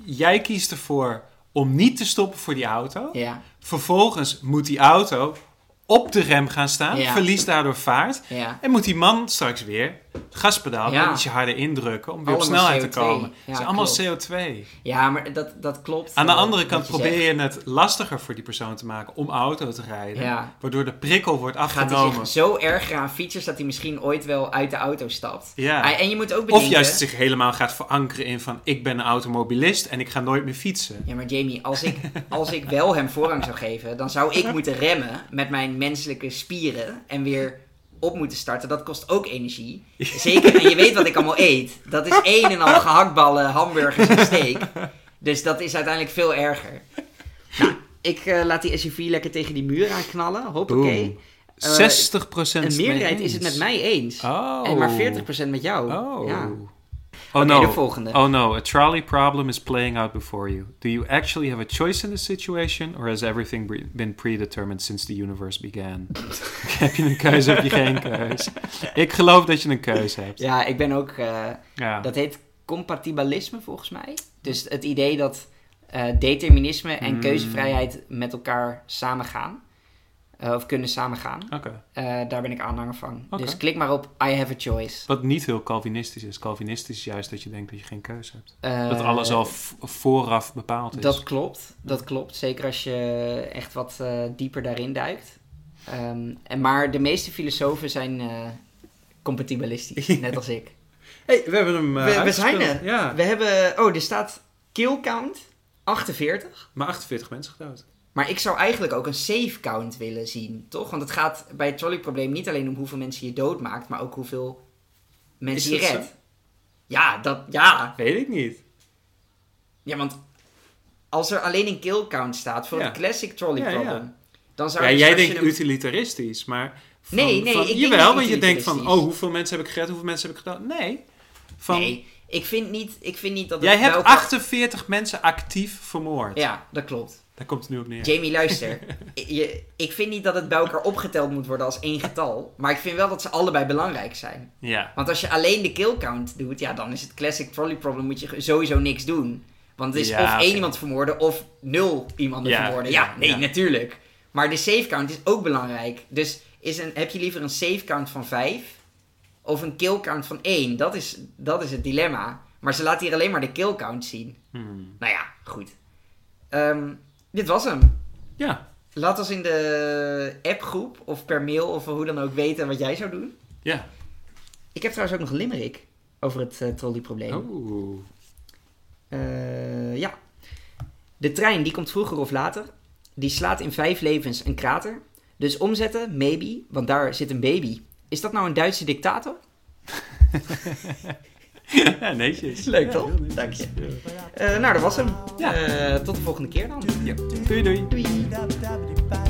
[SPEAKER 1] Jij kiest ervoor om niet te stoppen voor die auto.
[SPEAKER 2] ja,
[SPEAKER 1] Vervolgens moet die auto op de rem gaan staan.
[SPEAKER 2] Ja.
[SPEAKER 1] Verliest daardoor vaart.
[SPEAKER 2] ja.
[SPEAKER 1] En moet die man straks weer het gaspedaal
[SPEAKER 2] Ja.
[SPEAKER 1] een ietsje harder indrukken om weer op
[SPEAKER 2] Allemaal
[SPEAKER 1] snelheid te
[SPEAKER 2] CO2.
[SPEAKER 1] komen.
[SPEAKER 2] Ja,
[SPEAKER 1] het is allemaal
[SPEAKER 2] klopt.
[SPEAKER 1] CO2.
[SPEAKER 2] Ja, maar dat, dat klopt.
[SPEAKER 1] Aan de
[SPEAKER 2] eh,
[SPEAKER 1] andere
[SPEAKER 2] wat
[SPEAKER 1] kant
[SPEAKER 2] je
[SPEAKER 1] probeer
[SPEAKER 2] zegt.
[SPEAKER 1] je het lastiger voor die persoon te maken om auto te rijden.
[SPEAKER 2] Ja.
[SPEAKER 1] Waardoor de prikkel wordt
[SPEAKER 2] Gaat hij
[SPEAKER 1] afgenomen.
[SPEAKER 2] zich zo erger aan fietsers dat hij misschien ooit wel uit de auto stapt.
[SPEAKER 1] Ja.
[SPEAKER 2] Ah, En je moet ook
[SPEAKER 1] Of
[SPEAKER 2] bedenken...
[SPEAKER 1] juist zich helemaal gaat verankeren in van ik ben een automobilist en ik ga nooit meer fietsen.
[SPEAKER 2] Ja, maar Jamie, als ik, als ik wel hem voorrang zou geven, dan zou
[SPEAKER 1] <laughs>
[SPEAKER 2] ik moeten remmen met mijn menselijke spieren en weer op moeten starten. Dat kost ook energie. Zeker, en je weet wat ik allemaal eet. Dat is één en al gehaktballen, hamburgers en steak. Dus dat is uiteindelijk veel erger. Nou, ik eh, laat die SUV lekker tegen die muur aanknallen. Hoppakee.
[SPEAKER 1] Boom.
[SPEAKER 2] Eh,
[SPEAKER 1] 60 procent
[SPEAKER 2] Een meerderheid is het met mij eens.
[SPEAKER 1] Oh.
[SPEAKER 2] En maar 40% met jou.
[SPEAKER 1] Oh.
[SPEAKER 2] Ja.
[SPEAKER 1] Oh
[SPEAKER 2] Oké,
[SPEAKER 1] no.
[SPEAKER 2] de volgende.
[SPEAKER 1] Oh no, a trolley problem is playing out before you. Do you actually have a choice in this situation, or has everything bre- been predetermined since the universe
[SPEAKER 2] <laughs>
[SPEAKER 1] began? heb je een keuze, heb je geen keuze? Ik geloof dat je een keuze hebt.
[SPEAKER 2] Ja, ik ben ook... eh,
[SPEAKER 1] Ja.
[SPEAKER 2] Dat heet compatibilisme volgens mij. Dus het idee dat eh, determinisme en
[SPEAKER 1] Hmm.
[SPEAKER 2] keuzevrijheid met elkaar samengaan. Eh, of kunnen samengaan.
[SPEAKER 1] Oké.
[SPEAKER 2] Eh, daar ben ik aanhanger van.
[SPEAKER 1] Oké.
[SPEAKER 2] Dus klik maar op I have a choice.
[SPEAKER 1] Wat niet heel Calvinistisch is. Calvinistisch is juist dat je denkt dat je geen keuze hebt.
[SPEAKER 2] Eh,
[SPEAKER 1] dat alles al v- vooraf bepaald is.
[SPEAKER 2] Dat klopt, dat klopt. Zeker als je echt wat eh, dieper daarin duikt. Ehm, en maar de meeste filosofen zijn eh, compatibilistisch, net als ik.
[SPEAKER 1] Hey, we hebben hem. eh,
[SPEAKER 2] We- we
[SPEAKER 1] uitgespeeld.
[SPEAKER 2] zijn er.
[SPEAKER 1] Ja,
[SPEAKER 2] We hebben, oh, er staat kill count 48.
[SPEAKER 1] maar 48 mensen gedood.
[SPEAKER 2] Maar ik zou eigenlijk ook een save count willen zien, toch? Want het gaat bij het trolleyprobleem niet alleen om hoeveel mensen je doodmaakt, maar ook hoeveel mensen
[SPEAKER 1] Is
[SPEAKER 2] je
[SPEAKER 1] dat
[SPEAKER 2] redt. Ja, dat, ja.
[SPEAKER 1] Weet ik niet.
[SPEAKER 2] Ja, want als er alleen een kill count staat voor
[SPEAKER 1] Ja.
[SPEAKER 2] het classic trolleyprobleem,
[SPEAKER 1] Ja, ja.
[SPEAKER 2] dan zou
[SPEAKER 1] Ja,
[SPEAKER 2] je dus
[SPEAKER 1] jij
[SPEAKER 2] als je
[SPEAKER 1] denkt
[SPEAKER 2] hem-
[SPEAKER 1] utilitaristisch, maar... Van,
[SPEAKER 2] Nee, nee,
[SPEAKER 1] van-
[SPEAKER 2] ik denk
[SPEAKER 1] Jawel,
[SPEAKER 2] niet
[SPEAKER 1] want je denkt van,
[SPEAKER 2] utilitaristisch.
[SPEAKER 1] oh, hoeveel mensen heb ik gered, hoeveel mensen heb ik gedaan? Nee. Van,
[SPEAKER 2] Nee, ik vind niet, ik vind niet dat het
[SPEAKER 1] jij
[SPEAKER 2] bij
[SPEAKER 1] hebt
[SPEAKER 2] elkaar-
[SPEAKER 1] 48 mensen actief vermoord.
[SPEAKER 2] Ja, dat klopt.
[SPEAKER 1] Daar komt het nu op neer.
[SPEAKER 2] Jamie,
[SPEAKER 1] <laughs>
[SPEAKER 2] luister. I- je, ik vind niet dat het bij elkaar opgeteld moet worden als één getal. Maar ik vind wel dat ze allebei belangrijk zijn.
[SPEAKER 1] ja.
[SPEAKER 2] Want als je alleen de kill count doet, ja, dan is het classic trolley problem, moet je sowieso niks doen. Want het is
[SPEAKER 1] Ja,
[SPEAKER 2] of één
[SPEAKER 1] oké.
[SPEAKER 2] iemand vermoorden of nul iemand
[SPEAKER 1] Ja,
[SPEAKER 2] vermoorden.
[SPEAKER 1] ja,
[SPEAKER 2] Ja, nee,
[SPEAKER 1] ja.
[SPEAKER 2] natuurlijk. Maar de save count is ook belangrijk. Dus is een, heb je liever een save count van 5 of een kill count van 1? Dat is, dat is het dilemma. Maar ze laat hier alleen maar de kill count zien.
[SPEAKER 1] Hmm.
[SPEAKER 2] Nou ja, goed. Ehm, dit was hem.
[SPEAKER 1] Ja.
[SPEAKER 2] Laat ons in de appgroep of per mail of hoe dan ook weten wat jij zou doen.
[SPEAKER 1] Ja.
[SPEAKER 2] Ik heb trouwens ook nog een limerick over het eh, trolleyprobleem.
[SPEAKER 1] Oeh.
[SPEAKER 2] Eh, ja. De trein die komt vroeger of later. Die slaat in vijf levens een krater. Dus omzetten, maybe, want daar zit een baby. Is dat nou een Duitse dictator?
[SPEAKER 1] <laughs> ja, netjes.
[SPEAKER 2] Leuk,
[SPEAKER 1] Ja,
[SPEAKER 2] toch?
[SPEAKER 1] heel netjes.
[SPEAKER 2] Dank je.
[SPEAKER 1] Ja.
[SPEAKER 2] Eh, nou, dat was hem.
[SPEAKER 1] Ja.
[SPEAKER 2] Eh, tot de volgende keer dan.
[SPEAKER 1] Doei, doei.
[SPEAKER 2] Doei.
[SPEAKER 4] Dab, dab, dee, ba,